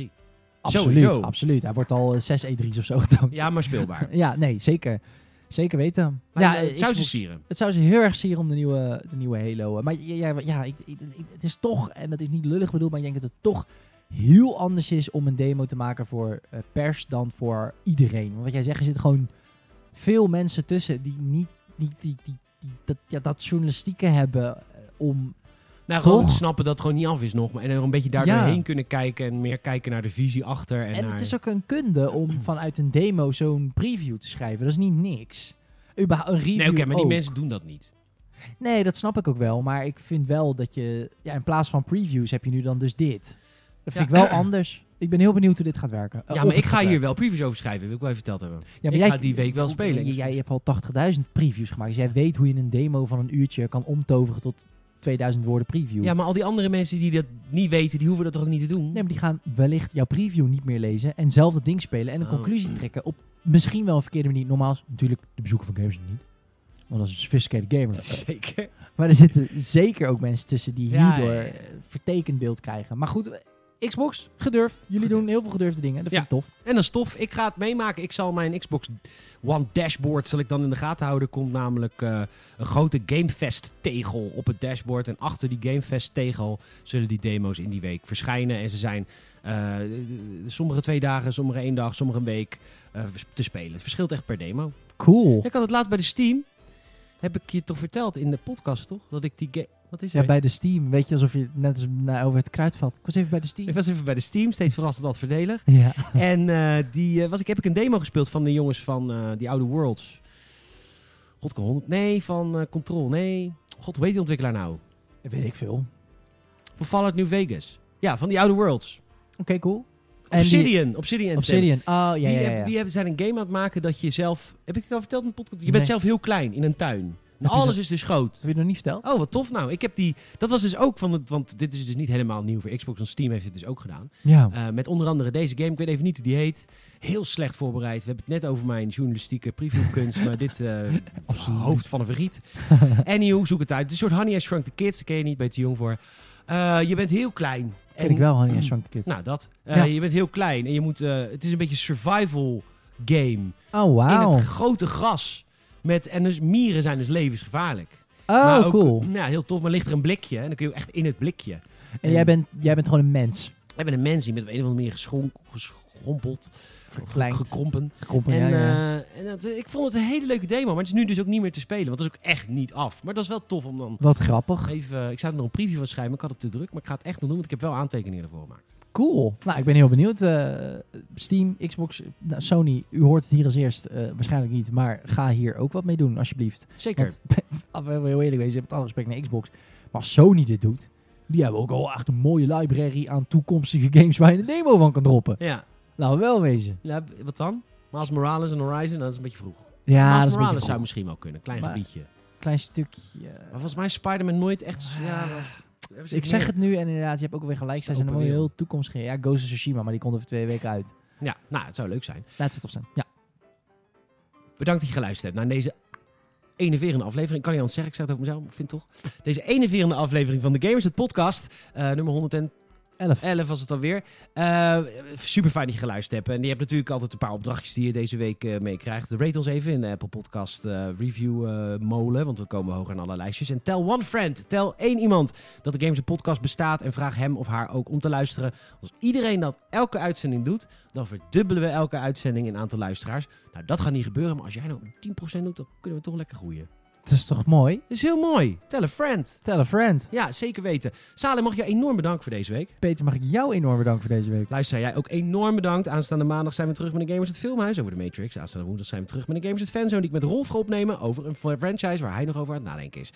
A: Absoluut,
B: Sowieso.
A: absoluut. Hij wordt al eh, zes E3's of zo getoond.
B: Ja, maar speelbaar.
A: Ja, nee, zeker. Zeker weten.
B: Maar,
A: ja,
B: eh,
A: eh,
B: het zou ze
A: Xbox-
B: sieren.
A: Het zou ze heel erg zien om de nieuwe, de nieuwe Halo. eh, Maar j- ja, ja ik, ik- ik- het is toch, en dat is niet lullig bedoeld, maar ik denk dat het toch heel anders is om een demo te maken voor eh, pers dan voor iedereen. Want wat jij zegt, er zitten gewoon veel mensen tussen die niet die, die, die, die- dat, ja, dat journalistieke hebben eh, om...
B: Nou, gewoon
A: Toch?
B: snappen dat het gewoon niet af is nog. maar- En er een beetje daar
A: Ja.
B: doorheen kunnen kijken. En meer kijken naar de visie achter. En,
A: En,
B: naar...
A: het is ook een kunde om vanuit een demo zo'n preview te schrijven. Dat is niet niks. Überha- een review
B: nee, oké, maar die
A: ook. Oh,
B: mensen doen dat niet.
A: Nee, dat snap ik ook wel. Maar ik vind wel dat je... Ja, in plaats van previews heb je nu dan dus dit. Dat vind
B: Ja.
A: ik wel anders. Ik ben heel benieuwd hoe dit gaat werken. Eh,
B: ja,
A: of
B: maar ik
A: het
B: ga
A: gaat
B: hier
A: werken.
B: wel previews over schrijven. Wil ik wel even verteld hebben.
A: Ja, Oh,
B: ik ga die week wel spelen.
A: Jij, jij hebt al 80.000 previews gemaakt. Dus jij weet hoe je een demo van een uurtje kan omtoveren tot 2000 woorden preview.
B: Ja, maar al die andere mensen die dat niet weten, die hoeven dat toch ook niet te doen?
A: Nee, maar die gaan wellicht jouw preview niet meer lezen en zelf dat ding spelen en een
B: Oh.
A: conclusie trekken op misschien wel een verkeerde manier. Normaal is natuurlijk de bezoeker van games niet. Want dat is een sophisticated gamer.
B: Zeker.
A: Maar er zitten zeker ook mensen tussen die
B: Ja,
A: hierdoor
B: ja, ja.
A: eh, vertekend beeld krijgen. Maar goed, Xbox, gedurfd. Jullie
B: Gedurfd.
A: doen heel veel gedurfde dingen. Dat vind ik tof.
B: En dat is tof. Ik ga het meemaken. Ik zal mijn Xbox One dashboard zal ik dan in de gaten houden. Komt namelijk eh, een grote Gamefest tegel op het dashboard. En achter die Gamefest tegel zullen die demo's in die week verschijnen. En ze zijn eh, sommige twee dagen, sommige één dag, sommige een week eh, te spelen. Het verschilt echt per demo.
A: Cool.
B: Ik had het laatst bij de Steam. Heb ik je toch verteld in de podcast, toch? Dat ik die game... Wat is er?
A: Ja, bij de Steam. Weet je, alsof je net als na- over het kruid valt. Ik was even bij de Steam.
B: Ik was even bij de Steam, steeds verrassend dat verdelen.
A: Ja.
B: En eh, die eh, was ik, heb ik een demo gespeeld van de jongens van eh die oude Worlds. God, ik kan 100. Nee, van eh, Control. Nee. God, hoe heet die ontwikkelaar nou?
A: Weet ik veel. Oké,
B: Van Fallout New Vegas. Ja, van die oude Worlds.
A: cool. En die-
B: Obsidian. Obsidian. Entertainment.
A: Obsidian. Oh, ja, ja,
B: Die,
A: ja.
B: hebben- die hebben, zijn een game aan het maken dat je zelf... Heb ik het al verteld in de podcast? Je
A: Nee.
B: bent zelf heel klein in een tuin. En
A: Heb je
B: alles
A: dat-
B: is dus groot.
A: Heb je nog niet verteld?
B: Oh, wat tof nou. Ik heb die... Dat was dus ook van... Het, want dit is dus niet helemaal nieuw voor Xbox. Want Steam heeft dit dus ook gedaan.
A: Ja.
B: Eh, met onder andere deze game. Ik weet even niet hoe die heet. Heel slecht voorbereid. We hebben het net over mijn journalistieke previewkunst. maar dit eh,
A: Absoluut.
B: hoofd van een verriet. Anyhow, zoek het uit. Het is een soort Honey I Shrunk the Kids. Daar ken je niet, ben je te jong voor. Eh, je bent heel klein.
A: Ken ik wel, Honey I Shrunk the Kids.
B: Nou, dat. Eh,
A: Ja.
B: Je bent heel klein. En je moet... eh, het is een beetje survival game.
A: oh, wauw.
B: In het grote gras. Met, en dus mieren zijn dus levensgevaarlijk. Maar
A: Oh,
B: Nou, ook,
A: cool.
B: Ja, heel tof. Maar ligt er een blikje. En dan kun je ook echt in het blikje.
A: En jij bent, jij bent gewoon een mens.
B: We hebben een mens die met op een of andere manier geschonk, geschrompeld,
A: Verkleind.
B: gekrompen.
A: Gekrompen,
B: En,
A: ja, ja.
B: eh, en dat, eh, ik vond het een hele leuke demo, maar het is nu dus ook niet meer te spelen. Want het is ook echt niet af. Maar dat is wel tof om dan
A: Wat grappig.
B: even... eh, ik zou er nog een preview van schrijven, maar ik had het te druk. Maar ik ga het echt nog doen, want ik heb wel aantekeningen ervoor gemaakt.
A: Cool. Nou, ik ben heel benieuwd. Eh, Steam, Xbox, nou, Sony, u hoort het hier als eerst. eh, waarschijnlijk niet, maar ga hier ook wat mee doen, alsjeblieft.
B: Zeker.
A: Want, laten we heel eerlijk wezen, met alle respect naar Xbox. Maar als Sony dit doet, die hebben ook al echt een mooie library aan toekomstige games waar je een demo van kan droppen.
B: Ja.
A: Laten we wel wezen.
B: ja, b- wat dan? Miles Morales en Horizon, nou, dat is een beetje vroeg.
A: Ja,
B: Miles
A: dat is
B: Morales
A: een beetje
B: zou
A: vroeg.
B: misschien wel kunnen, klein
A: Maar-
B: gebiedje.
A: klein stukje. eh,
B: Maar volgens mij is Spider-Man nooit echt... Ja, was-
A: Ah. Dus Ik zeg het nu en inderdaad, je hebt ook weer gelijk. Zij
B: Is de
A: zijn
B: open
A: allemaal heel toekomstgericht. Ja, Ghost of Tsushima, maar die komt over twee weken uit.
B: Ja, nou, het zou leuk zijn.
A: Laat ze toch zijn. Ja.
B: Bedankt dat je geluisterd hebt naar deze enerverende aflevering. Ik kan niet anders zeggen, ik zei het over mezelf, maar ik vind het toch. Deze enerverende aflevering van de Gamers, het podcast. eh, nummer 111
A: Elf.
B: was het alweer. Eh super fijn dat je geluisterd hebt. En je hebt natuurlijk altijd een paar opdrachtjes die je deze week eh, meekrijgt. Rate ons even in de Apple Podcast eh, Review eh, molen, want we komen hoog aan alle lijstjes. En tell one friend, tel één iemand dat de Gamers het podcast bestaat. En vraag hem of haar ook om te luisteren. Als iedereen dat elke uitzending doet, dan verdubbelen we elke uitzending in aantal luisteraars. Nou, dat gaat niet gebeuren, maar als jij nou 10% doet, dan kunnen we toch lekker groeien.
A: Het is toch mooi?
B: Dat is heel mooi. Tell a friend.
A: Tell a friend.
B: Ja, zeker weten. Salem, mag je enorm bedanken voor deze week.
A: Peter, mag ik jou enorm bedanken voor deze week?
B: Luister, jij ook enorm bedankt. Aanstaande maandag zijn we terug met de Gamers het Filmhuis over de Matrix. Aanstaande woensdag zijn we terug met de Gamers het Fanzone die ik met Rolf ga opnemen over een franchise waar hij nog over aan het nadenken is.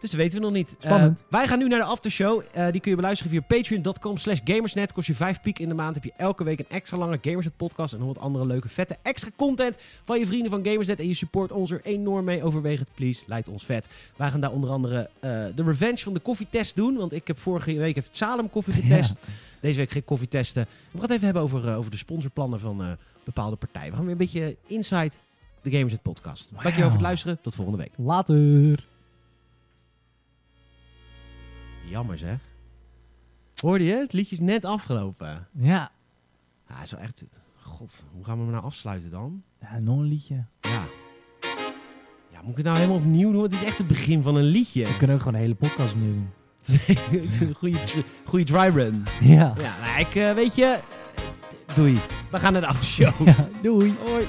B: Dus dat weten we nog niet.
A: Spannend.
B: Eh, wij gaan nu naar de aftershow. Eh, die kun je beluisteren via patreon.com slash gamersnet. Kost je 5 piek in de maand. Heb je elke week een extra lange Gamersnet podcast en nog wat andere leuke vette extra content van je vrienden van Gamersnet. En je support ons er enorm mee. Overweeg het please. Lijkt ons vet. Wij gaan daar onder andere eh, de revenge van de koffietest doen. Want ik heb vorige week heeft Salem koffie getest. Deze week geen koffietesten. We gaan het even hebben over, eh, over de sponsorplannen van eh, bepaalde partijen. We gaan weer een beetje inside de Gamers Net podcast. Dankjewel voor het luisteren. Tot volgende week.
A: Later.
B: Jammer zeg. Hoorde je? Het liedje is net afgelopen.
A: Ja.
B: Ja, het is wel echt... God, hoe gaan we hem nou afsluiten dan?
A: ja nog een liedje.
B: Ja. Ja, moet ik het nou helemaal opnieuw doen? Het is echt het begin van een liedje.
A: We kunnen ook gewoon een hele podcast opnieuw doen.
B: goeie, dr- goeie dry run.
A: Ja.
B: Ja, nou, ik eh, weet je... Doei. We gaan naar de aftershow.
A: ja. Doei.
B: Hoi.